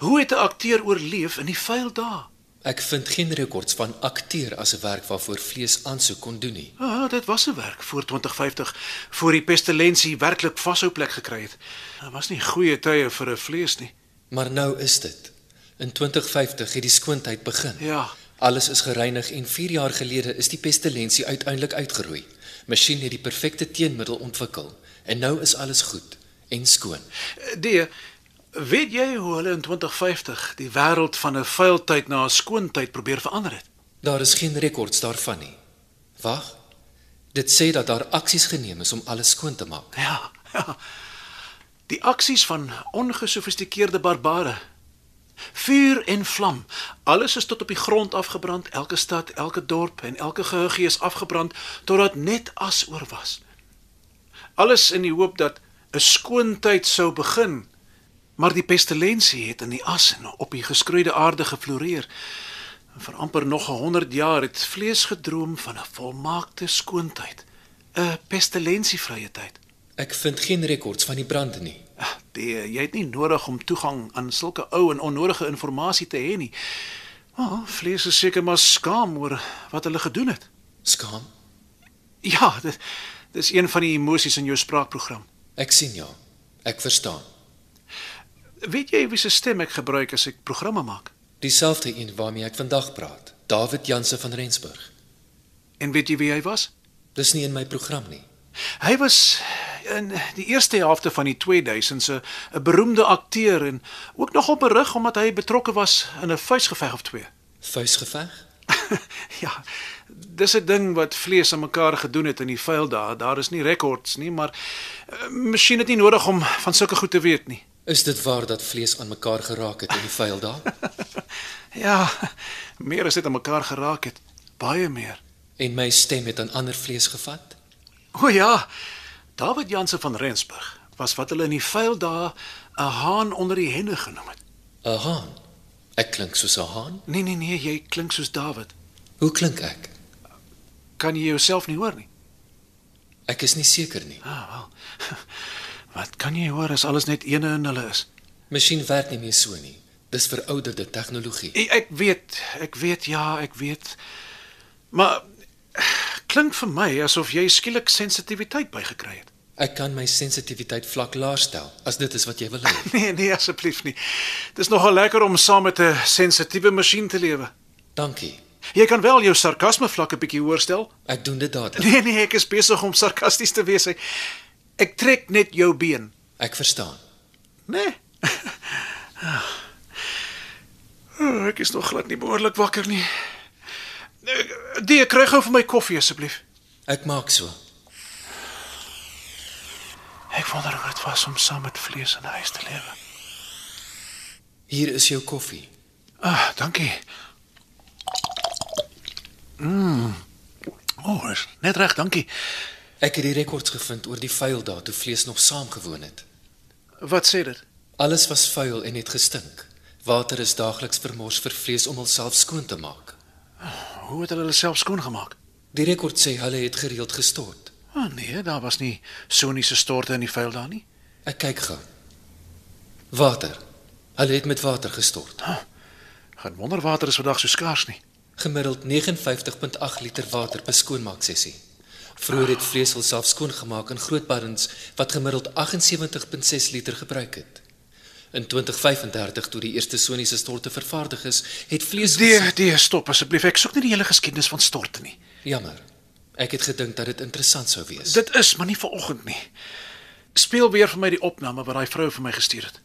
Speaker 9: Hoe het 'n akteur oorleef in die vuil dae?
Speaker 7: ek vind geen rekords van akteur as 'n werk waarvoor vlees aansoek kon doen nie.
Speaker 9: Ah, dit was 'n werk voor 2050, voor die pestilensie werklik vashou plek gekry het. Daar was nie goeie tye vir 'n vlees nie.
Speaker 7: Maar nou is dit. In 2050 het die skoonheid begin.
Speaker 9: Ja.
Speaker 7: Alles is gereinig en 4 jaar gelede is die pestilensie uiteindelik uitgeroei. Masjien het die perfekte teenmiddel ontwikkel en nou is alles goed en skoon.
Speaker 9: D, weet jy hoe hulle in 2050 die wêreld van 'n vuil tyd na 'n skoon tyd probeer verander het?
Speaker 7: Daar is geen rekords daarvan nie. Wag. Dit sê dat daar aksies geneem is om alles skoon te maak.
Speaker 9: Ja. ja. Die aksies van ongesofistikeerde barbare. Vuur en vlam. Alles is tot op die grond afgebrand. Elke stad, elke dorp en elke geheugie is afgebrand totdat net as oor was. Alles in die hoop dat 'n skoon tyd sou begin. Maar die pestilensie het in die as en op die geskroeide aarde gefloreer. En Vir amper nog 100 jaar het vlees gedroom van 'n volmaakte skoontyd, 'n pestilensievrye tyd.
Speaker 7: Ek vind geen rekords van die brand nie.
Speaker 9: Ag, die, eh, jy het nie nodig om toegang aan sulke ou en onnodige inligting te hê nie. Maar oh, vlees is seker maar skaam oor wat hulle gedoen het.
Speaker 7: Skaam.
Speaker 9: Ja, dit dis een van die emosies in jou spraakprogram.
Speaker 7: Ek sien ja. Ek verstaan.
Speaker 9: Weet jy wie se stem ek gebruik as ek programme maak?
Speaker 7: Dieselfde een waarmee ek vandag praat, David Jansen van Rensburg.
Speaker 9: En weet jy wie hy was?
Speaker 7: Dis nie in my program nie.
Speaker 9: Hy was in die eerste helfte van die 2000s 'n 'n beroemde akteur en ook nogal berug omdat hy betrokke was in 'n vuisgeveg of twee.
Speaker 7: Vuisgeveg?
Speaker 9: ja, dis 'n ding wat vlees aan mekaar gedoen het in die vuil daar. Daar is nie rekords nie, maar uh, miskien het nie nodig om van sulke goed te weet nie.
Speaker 7: Is dit waar dat vlees aan mekaar geraak het in die vuil daar?
Speaker 9: Ja, meer as dit aan mekaar geraak het, baie meer.
Speaker 7: en my stem het aan ander vlees gevat?
Speaker 9: O ja, David Jansen van Rensburg was wat hulle in die vuil daar 'n haan onder die henne genoem het.
Speaker 7: 'n Haan. Ek klink soos 'n haan.
Speaker 9: Nee nee nee, jy klink soos David.
Speaker 7: Hoe klink ek?
Speaker 9: Kan jy jouself nie hoor nie?
Speaker 7: Ek is nie seker nie.
Speaker 9: Ah, wel. Wat kan jy hoor as alles net eene in hulle is?
Speaker 7: Masjien werk nie meer so nie. Dis verouderde tegnologie.
Speaker 9: Ek, ek weet, ek weet ja, ek weet. Maar klink vir my asof jy skielik sensitiwiteit bygekry het.
Speaker 7: Ek kan my sensitiwiteit vlak laer stel as dit is wat jy wil hê.
Speaker 9: Nee, nee asseblief nie. Dis nogal lekker om saam met 'n sensitiewe masjien te lewe.
Speaker 7: Dankie.
Speaker 9: Jy kan wel jou sarkasme vlak 'n bietjie hoër stel.
Speaker 7: Ek doen dit dadelik.
Speaker 9: Nee, nee, ek is besig om sarkasties te wees. Ek, ek trek net jou been.
Speaker 7: Ek verstaan.
Speaker 9: Nee. Oh, ek is nog glad nie behoorlik wakker nie. Die kry gou vir my koffie asseblief.
Speaker 7: Ek maak so.
Speaker 9: Ek wonder hoe dit was om saam met vlees in 'n huis te lewe.
Speaker 7: Hier is jou koffie.
Speaker 9: Ah, dankie. Mm. O, oh, is net reg, dankie.
Speaker 7: Ek het die rekords gevind oor die vuil daar toe vlees nog saamgewoon het.
Speaker 9: Wat sê dit?
Speaker 7: Alles was vuil en het gestink. Water is daagliks vermors vir vlees om homself skoon te maak.
Speaker 9: Hoe het hulle hulle self skoon gemaak?
Speaker 7: Die rekord sê hulle het gereeld gestort.
Speaker 9: Ah, oh, nee, daar was nie soniese storte in die vuil daar nie.
Speaker 7: Ek kyk gou. Water. Hulle het met water gestort.
Speaker 9: Gaan wonder water is vandag so skaars nie.
Speaker 7: Gemiddeld 59.8 liter water per skoonmaaksessie. Vroeger het vlees homself skoongemaak in groot baddens wat gemiddeld 78.6 liter gebruik het. In 2035 toe die eerste soniese storte vervaardig is, het vlees
Speaker 9: Nee, Die, die stop asseblief. Ek soek nie die hele geskiedenis van storte nie.
Speaker 7: Jammer. Ek het gedink dat dit interessant sou wees.
Speaker 9: Dit is, maar nie vanoggend nie. Speel weer vir my die opname wat daai vrou vir my gestuur het.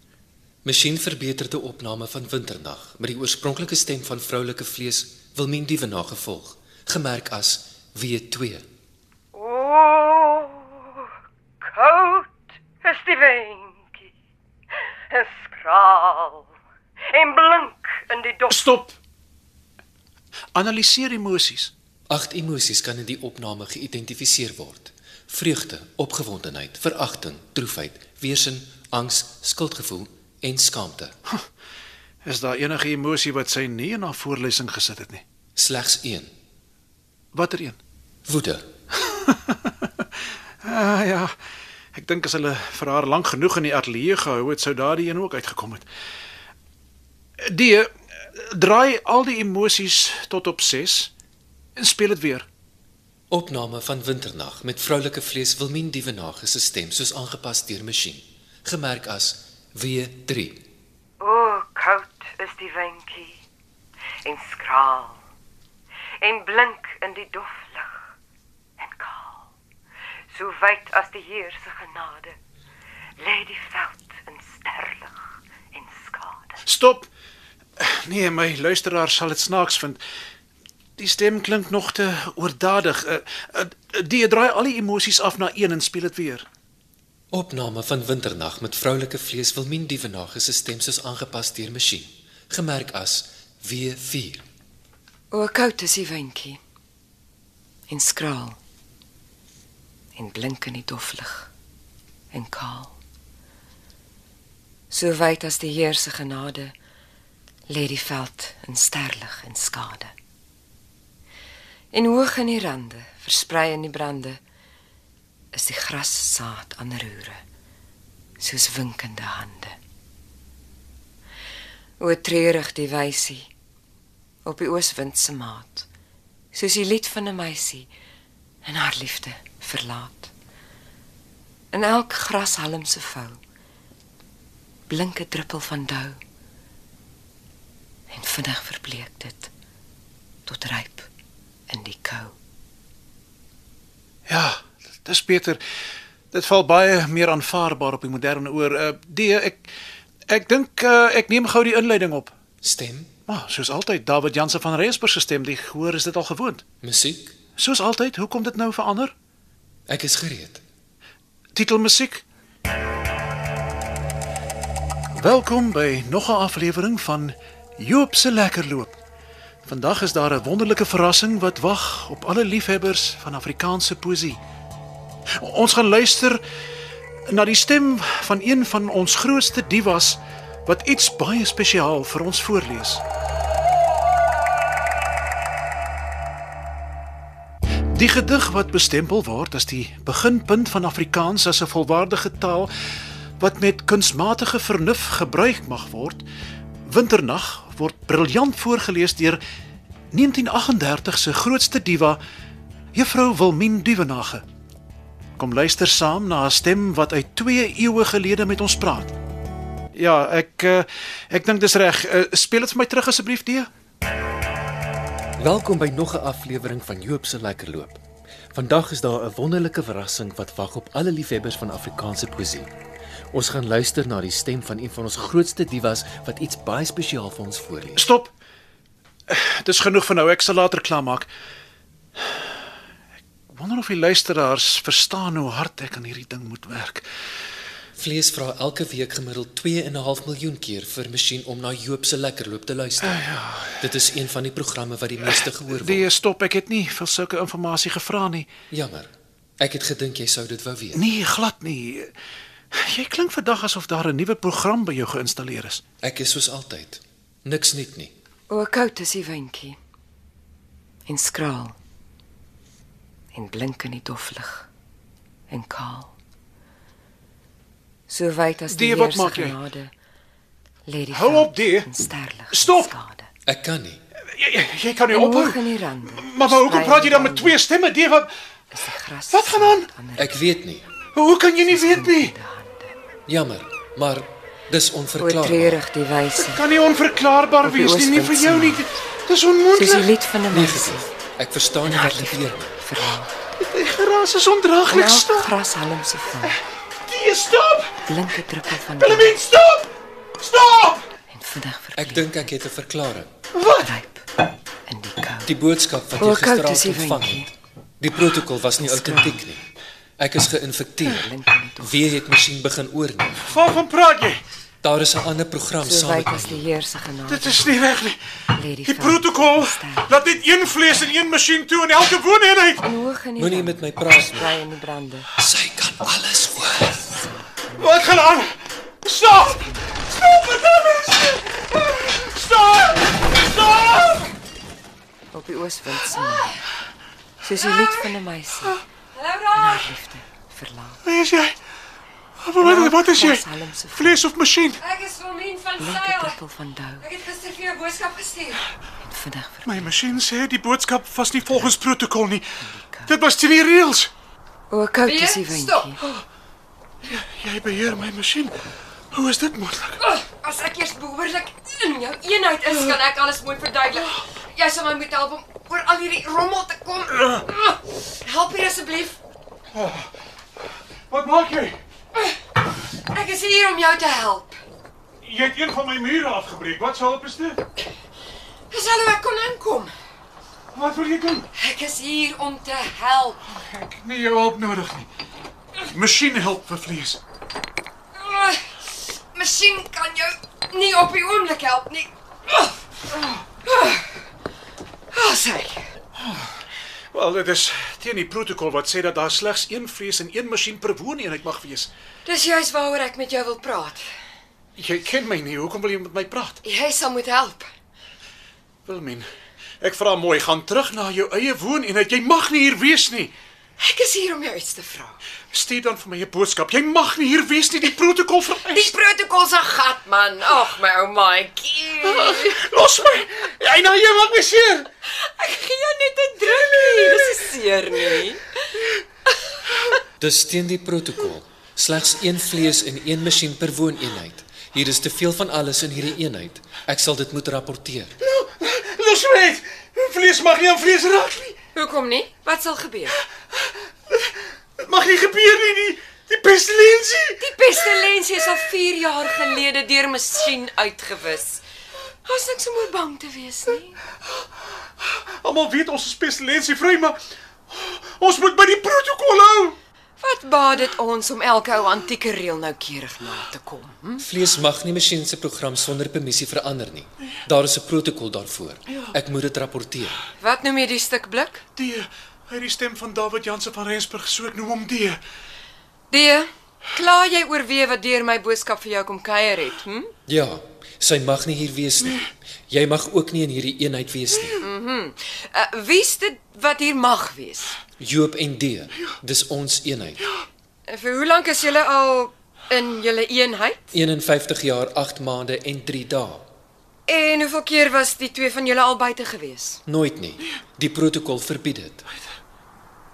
Speaker 7: masjienverbeterde opname van Winterdag met die oorspronklike stem van vroulike vlees Wilmien Dievenage gevolg, gemerk as W2.
Speaker 6: O, koud is die windjie. En skraal en blink in die dop.
Speaker 9: Stop. Analiseer emosies.
Speaker 7: Agt emosies kan in die opname geïdentifiseer word: vreugde, opgewondenheid, veragting, droefheid, weersin, angs, skuldgevoel en skaamte.
Speaker 9: Is daar enige emosie wat sy nie in haar voorlesing gesit het nie?
Speaker 7: Slegs een:
Speaker 9: Watter een?
Speaker 7: woede.
Speaker 9: Ah ja. Ek dink as hulle vir haar lank genoeg in die ateljee gehou het, sou daardie een ook uitgekom het. Die draai al die emosies tot op 6 en speel dit weer.
Speaker 7: Opname van Winterdag met vroulike vlees Wilmien Dievenage se stem soos aangepas deur masjien, gemerk as W3.
Speaker 6: O, koud is die windjie. En skraal en blink in die dof lig. En kaal. So wyd as die Heer se genade lê die veld in sterlig en skade.
Speaker 9: Stop. Nee, my luisteraar sal dit snaaks vind. Die stem klink nog te oordadig. Eh, eh, Die draai al die emosies af na 1 en speel dit weer.
Speaker 7: Opname van Winternag met vroulike vlees Wilmien Dievenage se stem soos aangepas deur masjien, gemerk as W4.
Speaker 8: O, koud is die windjie. En skraal. En blink in die doflig. En kaal. So wyd as die Heer se genade lê die veld in sterlig en skade. En hoog in die rande, versprei in die brande, is die gras saad aan roere, soos winkende hande. O treurig die wysie op die ooswind se maat soos die lied van 'n meisie in haar liefde verlaat in elk grashalm se vou blink 'n druppel van dou en vinnig verbleek dit tot ryp in die kou
Speaker 9: Ja, dis beter. Dit val baie meer aanvaarbaar op die moderne oor. Eh, Die ek ek dink eh, ek neem gou die inleiding op.
Speaker 7: Stem,
Speaker 9: Maar soos altyd David Jansen van Reensburg se stem, die gehoor is dit al gewoond.
Speaker 7: musiek,
Speaker 9: Soos altyd, hoekom dit nou verander?
Speaker 7: ek is gereed.
Speaker 9: Titelmusiek. Welkom by nog 'n aflewering van Joop se lekkerloop. Vandag is daar 'n wonderlike verrassing wat wag op alle liefhebbers van Afrikaanse poësie. Ons gaan luister na die stem van een van ons grootste divas wat iets baie spesiaal vir ons voorlees. Die gedig wat bestempel word as die beginpunt van Afrikaans as 'n volwaardige taal wat met kunsmatige vernuf gebruik mag word, Winternag word briljant voorgeles deur 1938 se grootste diva, Juffrou Wilmien Duivenage. Kom luister saam na 'n stem wat uit 2 eeue gelede met ons praat. Ja, ek eh, ek dink dis reg. Eh, Speel dit vir my terug asseblief, Dee.
Speaker 7: Welkom by nog 'n aflewering van Joop se lekker loop. Vandag is daar 'n wonderlike verrassing wat wag op alle liefhebbers van Afrikaanse poësie. Ons gaan luister na die stem van een van ons grootste divas wat iets baie spesiaal vir ons voorlees.
Speaker 9: Stop. Dis genoeg vir nou. Ek sal later klaarmaak. Ek wonder of die luisteraars verstaan hoe hard ek aan hierdie ding moet werk.
Speaker 7: Vlees vra elke week gemiddeld 2.5 miljoen keer vir masjien om na Joop se lekkerloop te luister. Uh, ja. Dit is een van die programme wat die meeste gehoor word.
Speaker 9: Die Nee, stop, ek het nie vir sulke inligting gevra nie.
Speaker 7: Jammer. Ek het gedink jy sou dit wou weet.
Speaker 9: Nee, glad nie. Jy klink vandag asof daar 'n nuwe program by jou geïnstalleer is.
Speaker 7: Ek is soos altyd. Niks nuut nie.
Speaker 8: o koud is die windjie en skraal en blink in die doflig en kaal so wyd as die
Speaker 9: Dee, wat
Speaker 8: Heer se
Speaker 9: maak jy?
Speaker 8: genade lê die
Speaker 9: Hou
Speaker 8: veld
Speaker 9: op, Dee.
Speaker 8: in sterlig en
Speaker 9: Stop.
Speaker 8: skade
Speaker 7: Ek kan nie.
Speaker 9: Jy, jy, jy kan nie
Speaker 8: En hoog
Speaker 9: ophou.
Speaker 8: in die rande.
Speaker 9: Maar, maar hoekom
Speaker 8: versprei
Speaker 9: praat jy dan
Speaker 8: die
Speaker 9: met twee stemme? Die wat
Speaker 8: rande, is die gras
Speaker 9: Wat gaan aan?
Speaker 8: saad
Speaker 7: Ek weet nie.
Speaker 9: hoe kan jy nie weet nie?
Speaker 8: die hande.
Speaker 7: Jammer, maar dis
Speaker 8: O
Speaker 7: onverklaarbaar.
Speaker 8: treurig die wyse.
Speaker 9: Kan nie onverklaarbaar
Speaker 8: Of die
Speaker 9: wees nie, nie vir jou nie.
Speaker 8: oostwindse
Speaker 9: Dit
Speaker 8: Soos
Speaker 9: is
Speaker 8: die
Speaker 9: onmoontlik.
Speaker 8: lied van 'n mens.
Speaker 7: Negatief. Nee, Ek verstaan nie wat gebeur nie.
Speaker 10: Verhaal.
Speaker 9: Die gras is ondraaglik
Speaker 10: Melk
Speaker 9: stil.
Speaker 10: grashalm se val,
Speaker 9: Nee, stop.
Speaker 10: blinke druppel van
Speaker 9: Hulle
Speaker 10: bloed
Speaker 9: moet stop. Stop.
Speaker 10: en vinnig
Speaker 7: Ek
Speaker 10: verpleeg.
Speaker 7: dink ek het 'n verklaring.
Speaker 10: Ryp in die kou.
Speaker 7: Die boodskap wat
Speaker 10: Hoe
Speaker 7: jy
Speaker 10: koud is
Speaker 7: gisteraand
Speaker 10: die
Speaker 7: ontvang
Speaker 10: windjie?
Speaker 7: het. Die protokol was nie outentiek nie. Ek is geïnfekteer.
Speaker 10: Blink in die dof.
Speaker 7: Weer het masjien begin oorneem.
Speaker 9: Waarvan praat jy?
Speaker 7: Daar is 'n ander program
Speaker 10: So
Speaker 7: saam met
Speaker 10: wyd as die
Speaker 7: my.
Speaker 10: Heer se genade.
Speaker 9: Dit is nie reg nie.
Speaker 10: lê die
Speaker 9: Die
Speaker 10: vel
Speaker 9: protokol
Speaker 10: sterk.
Speaker 9: laat net een vlees in een masjien toe in elke wooneenheid.
Speaker 10: En hoog in die
Speaker 7: Moenie
Speaker 10: lamp,
Speaker 7: met my praat nie.
Speaker 10: Bly in die brande.
Speaker 7: Sy kan alles hoor.
Speaker 9: Wat gaan aan? Stop! Stop met hom! Stop! Stop!
Speaker 10: Op die ooswind sing hy. Soos die lied van 'n meisie.
Speaker 8: Hallo Raal.
Speaker 10: haar Liefde verlaat.
Speaker 9: Wie is jy? Wat wat is jy?
Speaker 10: Grashalm se val,
Speaker 9: Vlees of masjien?
Speaker 8: Ek is Wilmien van
Speaker 10: Blinke
Speaker 8: Sail.
Speaker 10: druppel van dou
Speaker 8: Ek het gister vir jou 'n boodskap gestuur.
Speaker 10: en vinnig verpleeg.
Speaker 9: My masjien sê die boodskap was nie volgens protokol nie. Dit was teen die reëls.
Speaker 10: Hoe koud
Speaker 8: Weer?
Speaker 10: is die windjie?
Speaker 9: Jy beheer my masjien. Hoe is dit moontlik?
Speaker 8: Oh, as ek eers behoorlik in jou eenheid is, kan ek alles mooi verduidelik. Jy sal my moet help om oor al hierdie rommel te kom. Oh, Help hier asseblief.
Speaker 9: Wat maak jy?
Speaker 8: Ek is hier om jou te help.
Speaker 9: Jy het een van my mure afgebreek. Wat sou help is dit?
Speaker 8: Dis al hoe ek kon inkom.
Speaker 9: Wat wil jy doen?
Speaker 8: Ek is hier om te help.
Speaker 9: Ek het nie jou hulp nodig nie. Masjien help vir vlees.
Speaker 8: Oh, Miskien kan jou nie op die oomblik help nie. Oh, oh, sê.
Speaker 9: Wel, dit is teen die protokol wat sê dat daar slegs een vlees en een masjien per wooneenheid mag wees.
Speaker 8: Dis juist waaroor ek met jou wil praat.
Speaker 9: Jy ken my nie. Hoekom wil jy met my praat?
Speaker 8: Jy sal moet help.
Speaker 9: Wilmien, ek vra mooi, gaan terug na jou eie wooneenheid. Jy mag nie hier wees nie.
Speaker 8: Ek is hier om jou iets te vra.
Speaker 9: Stuur dan vir my 'n boodskap. Jy mag nie hier wees nie. Die protokol
Speaker 8: Die
Speaker 9: vereis.
Speaker 8: protokol's 'n gat man. Ag my ou maatjie.
Speaker 9: Los my. Jy nou jy maak my seer.
Speaker 8: Ek gee jou net 'n drukkie. Dis nie seer nie.
Speaker 7: Dis teen die protokol. Slegs een vlees en een masjien per wooneenheid. Hier is te veel van alles in hierdie eenheid. Ek sal dit moet rapporteer.
Speaker 9: Nou, Los my net. Vlees mag nie aan vlees raak nie.
Speaker 8: Hoekom nie? Wat sal gebeur?
Speaker 9: Dit mag nie gebeur nie. Die, die pestilensie.
Speaker 8: Die pestilensie is al 4 jaar gelede deur masjien uitgewis. Ons niks om oor bang te wees nie.
Speaker 9: Almal weet ons is pestilensie vry, maar ons moet by die protokol hou.
Speaker 8: Wat baat dit ons om elke ou antieke reël noukeurig na te kom? Hm?
Speaker 7: Vlees mag nie masjien se program sonder permissie verander nie. Daar is 'n protokol daarvoor. Ek moet dit rapporteer.
Speaker 8: Wat noem jy die stuk blik?
Speaker 9: Die uit die stem van David Jansen van Rensburg so ek noem hom die.
Speaker 8: D. eh, Klaar jy oor wie wat deur my boodskap vir jou kom kuier het, hm?
Speaker 7: Ja, sy mag nie hier wees nie. Jy mag ook nie in hierdie eenheid wees nie.
Speaker 8: Uh, Wie's dit wat hier mag wees?
Speaker 7: Joop en D, dis ons eenheid.
Speaker 8: En Eh, Vir hoe lank is julle al in julle eenheid?
Speaker 7: 51 jaar, 8 maande en 3 dae.
Speaker 8: En hoeveel keer was die twee van julle al buite gewees?
Speaker 7: Nooit nie. Die protokol verbied dit.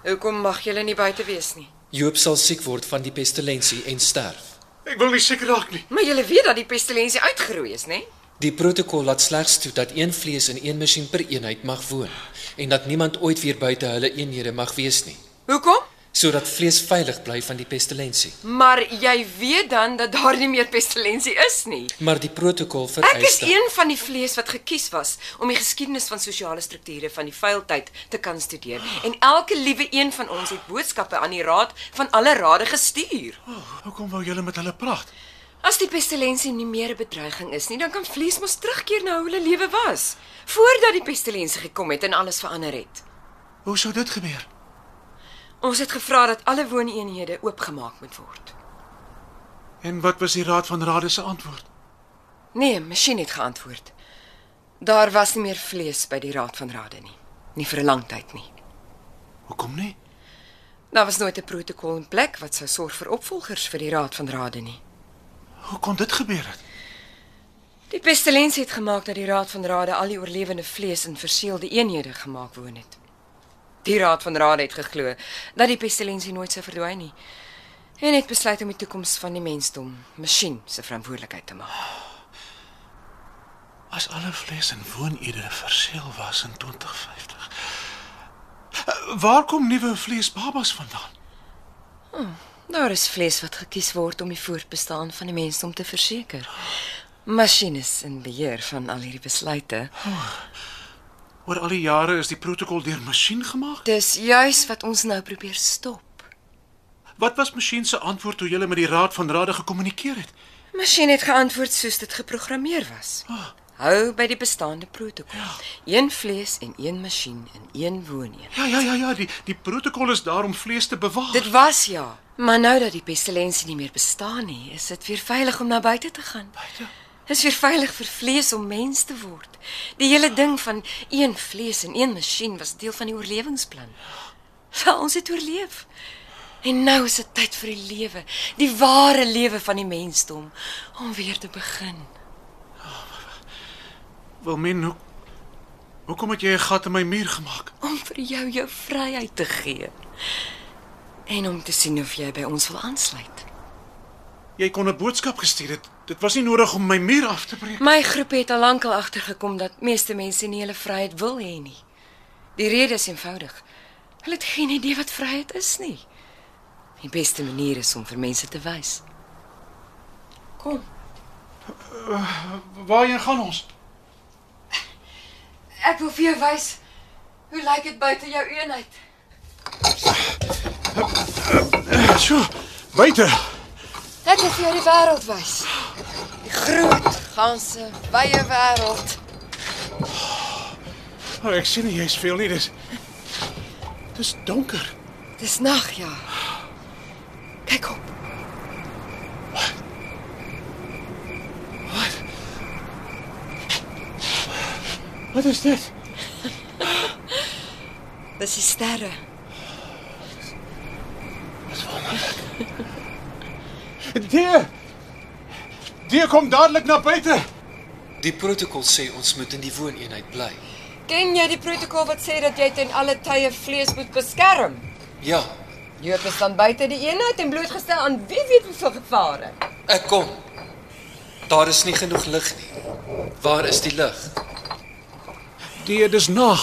Speaker 8: Hoekom mag julle nie buite wees nie?
Speaker 7: Joop sal siek word van die pestilensie en sterf.
Speaker 9: Ek wil nie seker raak nie.
Speaker 8: Maar julle weet dat die pestilensie uitgeroei is, né?
Speaker 7: Die protokol laat slegs toe dat een vlees en een masjien per eenheid mag woon en dat niemand ooit weer buite hulle eenhede mag wees nie,
Speaker 8: Hoekom?
Speaker 7: sodat vlees veilig bly van die pestilensie.
Speaker 8: Maar jy weet dan dat daar nie meer pestilensie is nie.
Speaker 7: Maar die protokol
Speaker 8: Ek is
Speaker 7: vereis dat
Speaker 8: een van die vlees wat gekies was om die geskiedenis van sosiale strukture van die vuiltyd te kan studeer. En elke liewe een van ons het boodskappe aan die raad van alle rade gestuur.
Speaker 9: Hoekom wou julle met hulle praat?
Speaker 8: As die pestilensie nie meer 'n bedreiging is nie, dan kan vlees mos terugkeer na hoe hulle lewe was, voordat die pestilensie gekom het en alles verander het.
Speaker 9: Hoe sou dit gebeur?
Speaker 8: Ons het gevra dat alle wooneenhede oopgemaak moet word.
Speaker 9: En wat was die raad van rade se antwoord?
Speaker 8: Nee, masjien het geantwoord. Daar was nie meer vlees by die Raad van Rade nie. Nie vir 'n lang tyd nie.
Speaker 9: Hoekom nie?
Speaker 8: Daar was nooit 'n protokol in plek wat sou sorg vir opvolgers vir die Raad van Rade nie.
Speaker 9: Hoe kon dit gebeur het?
Speaker 8: Die pestilensie het gemaak dat die Raad van Rade al die oorlewende vlees in verseelde eenhede gemaak woon het. Die Raad van Rade het geglo dat die pestilensie nooit sou verdwyn nie en het besluit om die toekoms van die mensdom masjien se verantwoordelikheid te maak.
Speaker 9: As alle vlees en woonedere verseël was in 2050, Waar kom nuwe vleesbabas vandaan?
Speaker 8: Daar is vlees wat gekies word om die voortbestaan van die mensdom te verseker. Masjien is in beheer van al hierdie besluite.
Speaker 9: Oor al die jare is die protokol deur masjien gemaak.
Speaker 8: Dis juis wat ons nou probeer stop.
Speaker 9: Wat was masjien se antwoord toe julle met die raad van rade gekommunikeer het?
Speaker 8: Masjien het geantwoord soos dit geprogrammeer was. Hou by die bestaande protokol. Een vlees en een masjien in een woonheen.
Speaker 9: Ja ja ja ja, die die protokol is daar om vlees te bewaar.
Speaker 8: Dit was ja, maar nou dat die pestilensie nie meer bestaan nie, is dit weer veilig om na buite te gaan. Buite. Is weer veilig vir vlees om mens te word. Die hele ding van een vlees en een masjien was deel van die oorlewingsplan. Wel, ons het oorleef. En nou is dit tyd vir die lewe, die ware lewe van die mensdom om weer te begin.
Speaker 9: Wil men hoe Hoekom het jy 'n gat in my muur gemaak?
Speaker 8: om vir jou jou vryheid te gee en om te sien of jy by ons wil aansluit.
Speaker 9: Jy kon 'n boodskap gestuur het. Dit was nie nodig om my muur af te breek.
Speaker 8: My groep het al lank al agtergekom dat meeste mense nie hulle vryheid wil hê nie. Die rede is eenvoudig. Hulle het geen idee wat vryheid is nie. Die beste manier is om vir mense te wys. Kom,
Speaker 9: Waarheen gaan ons?
Speaker 8: ek wil vir jou wys hoe lyk dit buite jou eenheid.
Speaker 9: Sjoe, buite.
Speaker 8: Ek wil vir jou die wêreld wys. Die groot, ganse, wye wêreld.
Speaker 9: Oh, ek sien nie jy's veel nie. Dis Dis donker.
Speaker 8: Dis nag, ja. Kyk op.
Speaker 9: Wat is dit?
Speaker 8: Dis die sterre.
Speaker 9: Dier. Dier kom dadelik na buite.
Speaker 7: Die protokol sê ons moet in die wooneenheid bly.
Speaker 11: Ken jy die protokol wat sê dat jy ten alle tye vlees moet beskerm?
Speaker 7: Ja,
Speaker 11: Joop is dan buite die eenheid en blootgestel aan wie weet hoeveel gevare.
Speaker 7: ek kom. Daar is nie genoeg lig nie. Waar is die lig?
Speaker 9: Dier, dis nag.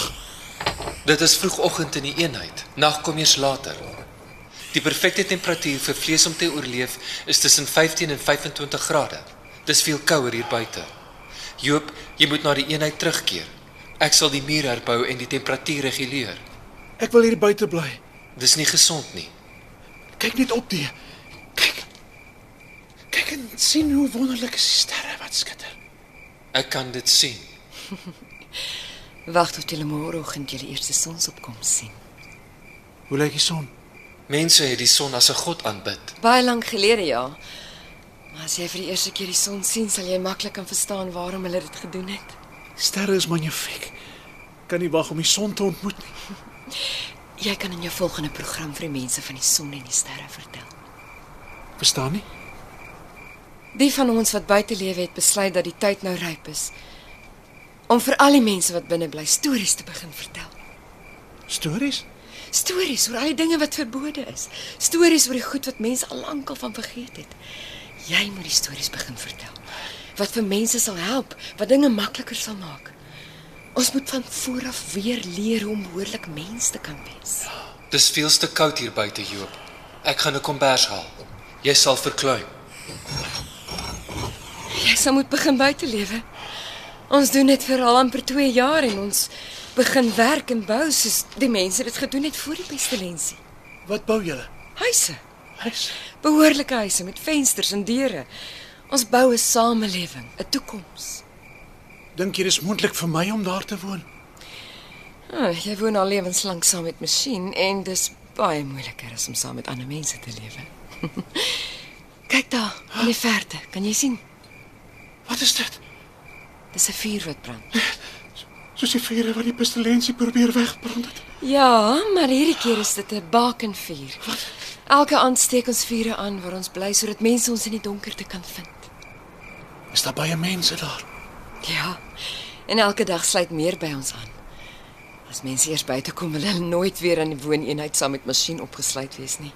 Speaker 7: Dit is vroegoggend in die eenheid. Nag kom eers later. Die perfekte temperatuur vir vlees om te oorleef is tussen 15 en 25 grade. Dis veel kouer hier buite. Joop, jy moet na die eenheid terugkeer. Ek sal die muur herbou en die temperatuur reguleer.
Speaker 9: Ek wil hier buite bly.
Speaker 7: Dis nie gesond nie.
Speaker 9: Kyk net op, Dier. Kyk. Kyk en sien hoe wonderlik is die sterre wat skitter.
Speaker 7: Ek kan dit sien.
Speaker 8: Wag tot julle môreoggend julle eerste sonsopkoms sien.
Speaker 9: Hoe lyk die son?
Speaker 7: Mense het die son as 'n god aanbid.
Speaker 8: Baie lank gelede ja. Maar as jy vir die eerste keer die son sien, sal jy maklik kan verstaan waarom hulle dit gedoen het.
Speaker 9: Sterre is magnifiek. Kan nie wag om die son te ontmoet nie.
Speaker 8: Jy kan in jou volgende program vir die mense van die son en die sterre vertel.
Speaker 9: Verstaan nie?
Speaker 8: Die van ons wat buite lewe het besluit dat die tyd nou ryp is om vir al die mense wat binne bly stories te begin vertel.
Speaker 9: Stories?
Speaker 8: Stories oor al die dinge wat verbode is. Stories oor die goed wat mense al lank al van vergeet het. Jy moet die stories begin vertel. Wat vir mense sal help, wat dinge makliker sal maak. Ons moet van vooraf weer leer hoe om behoorlik mens te kan wees.
Speaker 7: Dis veel te koud hier buite, Joop. Ek gaan 'n kombers haal. Jy sal verkleum.
Speaker 8: Jy sal moet begin buite lewe. Ons doen dit vir al amper 2 jaar en ons begin werk en bou soos die mense dit gedoen het voor die pestilensie.
Speaker 9: Wat bou julle?
Speaker 8: Huise,
Speaker 9: Huis.
Speaker 8: behoorlike huise met vensters en deure. Ons bou 'n samelewing, 'n toekoms.
Speaker 9: Dink jy dis moontlik vir my om daar te woon?
Speaker 8: Ah, jy woon al lewenslank saam met masjien en dis baie moeiliker as om saam met ander mense te lewe. Kyk daar, in die verte, kan jy sien?
Speaker 9: Wat is dit?
Speaker 8: Dis 'n vuur wat brand.
Speaker 9: Soos die vure wat die pestilensie probeer wegbrand het.
Speaker 8: Ja, maar hierdie keer is dit 'n bakenvuur. Elke aand steek ons vure aan waar ons bly sodat mense ons in die donkerte kan vind.
Speaker 9: Is daar baie mense daar?
Speaker 8: Ja. En elke dag sluit meer by ons aan. As mense eers buite kom, wil hulle nooit weer aan die wooneenheid saam met masjien opgesluit wees nie.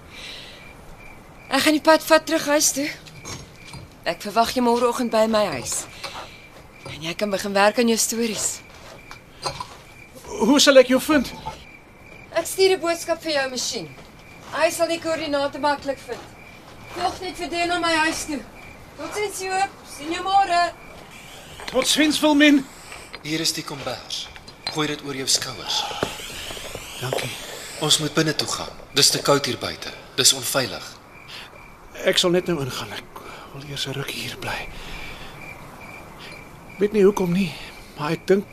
Speaker 8: Ek gaan die pad vat terug huis toe. Ek verwag jou môreoggend by my huis. En jy kan begin werk aan jou stories.
Speaker 9: Hoe sal ek jou vind?
Speaker 8: Ek stuur 'n boodskap vir jou masjien. Hy sal die koördinate maklik vind. Nog net vir deel na my huis toe. Totsiens Joop, sien jou môre.
Speaker 9: Tot sins wil men.
Speaker 7: Hier is die kombers. Gooi dit oor jou skouers.
Speaker 9: Dankie.
Speaker 7: Ons moet binne toe gaan. Dis te koud hier buite. Dis onveilig.
Speaker 9: Ek sal net nou ingaan. Ek wil eers 'n ruk hier bly. Weet nie hoekom nie, maar ek dink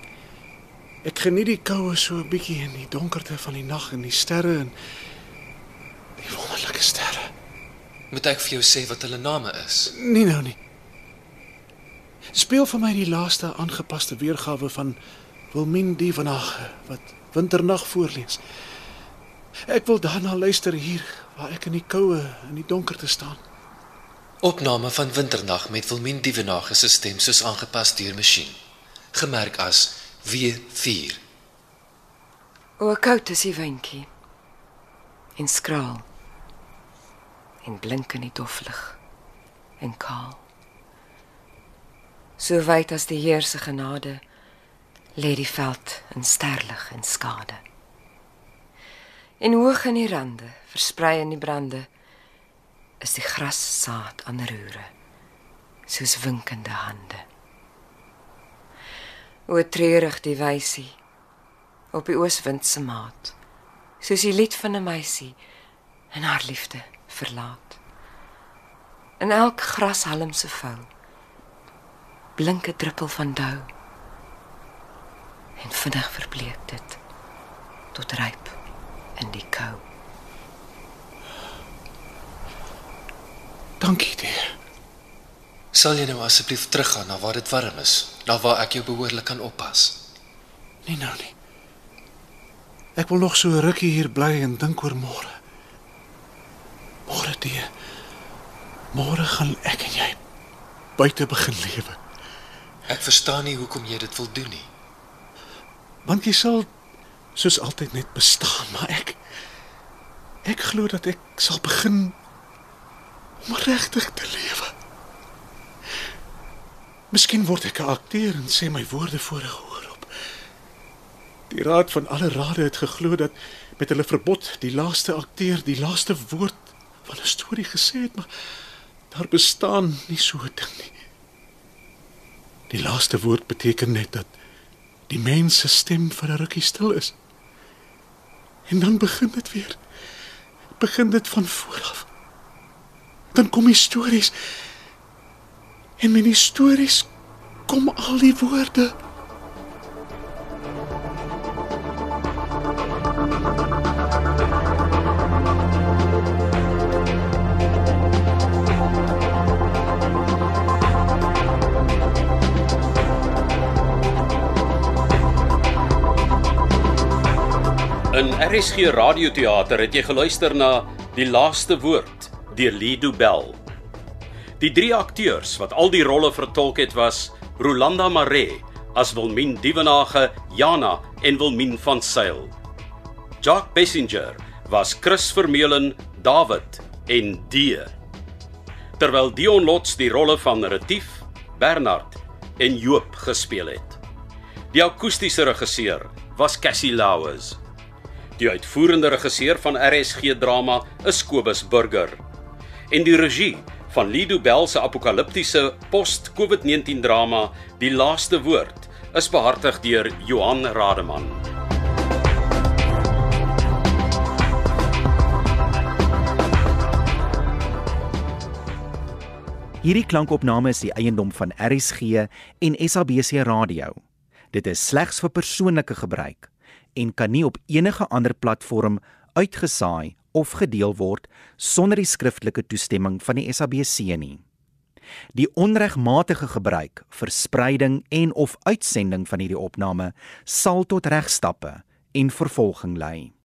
Speaker 9: ek geniet die koue so 'n bietjie in die donkerte van die nag en die sterre en die wonderlike sterre.
Speaker 7: Moet ek vir jou sê wat hulle name is?
Speaker 9: Nee nou nie. Speel vir my die laaste aangepaste weergawe van Wilmien die vanage wat winternag voorlees. Ek wil daarna luister hier waar ek in die koue en die donkerte staan.
Speaker 7: Opname van Winternag met Wilmien Dievenage se stem soos aangepas deur masjien. Gemerk as W4.
Speaker 8: O, koud is die windjie. En skraal. En blink in die doflig. En kaal. So wyd as die Heer se genade lê die veld in sterlig en skade. En hoog in die rande, versprei in die brande, is die gras saad aan roere, soos winkende hande. O treurig die wysie op die ooswind se maat, soos die lied van 'n meisie in haar liefde verlaat. In elk grashalm se vou blink 'n druppel van dou en vinnig verbleek dit tot ryp in die kou.
Speaker 9: Dankie, dear.
Speaker 7: Sal jy nou asseblief teruggaan na waar dit warm is, na waar ek jou behoorlik kan oppas.
Speaker 9: Nee nou nie. Ek wil nog so 'n rukkie hier bly en dink oor môre. Môre, dear. Môre gaan ek en jy buite begin lewe.
Speaker 7: Ek verstaan nie hoekom jy dit wil doen nie.
Speaker 9: Want jy sal soos altyd net bestaan, maar ek ek glo dat ek sal begin om regtig te lewe. Miskien word ek 'n akteur en sê my woorde voor 'n gehoor op. Die raad van alle rade het geglo dat met hulle verbod die laaste akteur die laaste woord van 'n storie gesê het, maar daar bestaan nie so 'n ding nie. Die laaste woord beteken net dat die mens se stem vir 'n rukkie stil is. En dan begin dit weer. Begin dit van voor af. Dan kom die stories. En met die stories kom al die woorde.
Speaker 2: In RSG Radioteater het jy geluister na Die Laaste Woord deur Lido Bell. Die drie akteurs wat al die rolle vertolk het was Rolanda Maree as Wilmien Dievenage, Jana en Wilmien van Sail. Jacques Passenger was Chris Vermeulen, David en D. Terwyl Dion Lots die rolle van Retief, Bernard en Joop gespeel het. Die akoestiese regisseur was Cassie Louws. Die uitvoerende regisseur van RSG drama is Kobus Burger. En die regie van Lido Bell se apokaliptiese post-COVID-19 drama Die Laaste Woord is behartig deur Johan Rademan.
Speaker 1: Hierdie klankopname is die eiendom van RSG en SABC Radio. Dit is slegs vir persoonlike gebruik en kan nie op enige ander platform uitgesaai of gedeel word sonder die skriftelike toestemming van die SABC nie. Die onregmatige gebruik, verspreiding en of uitsending van hierdie opname sal tot regstappe en vervolging lei.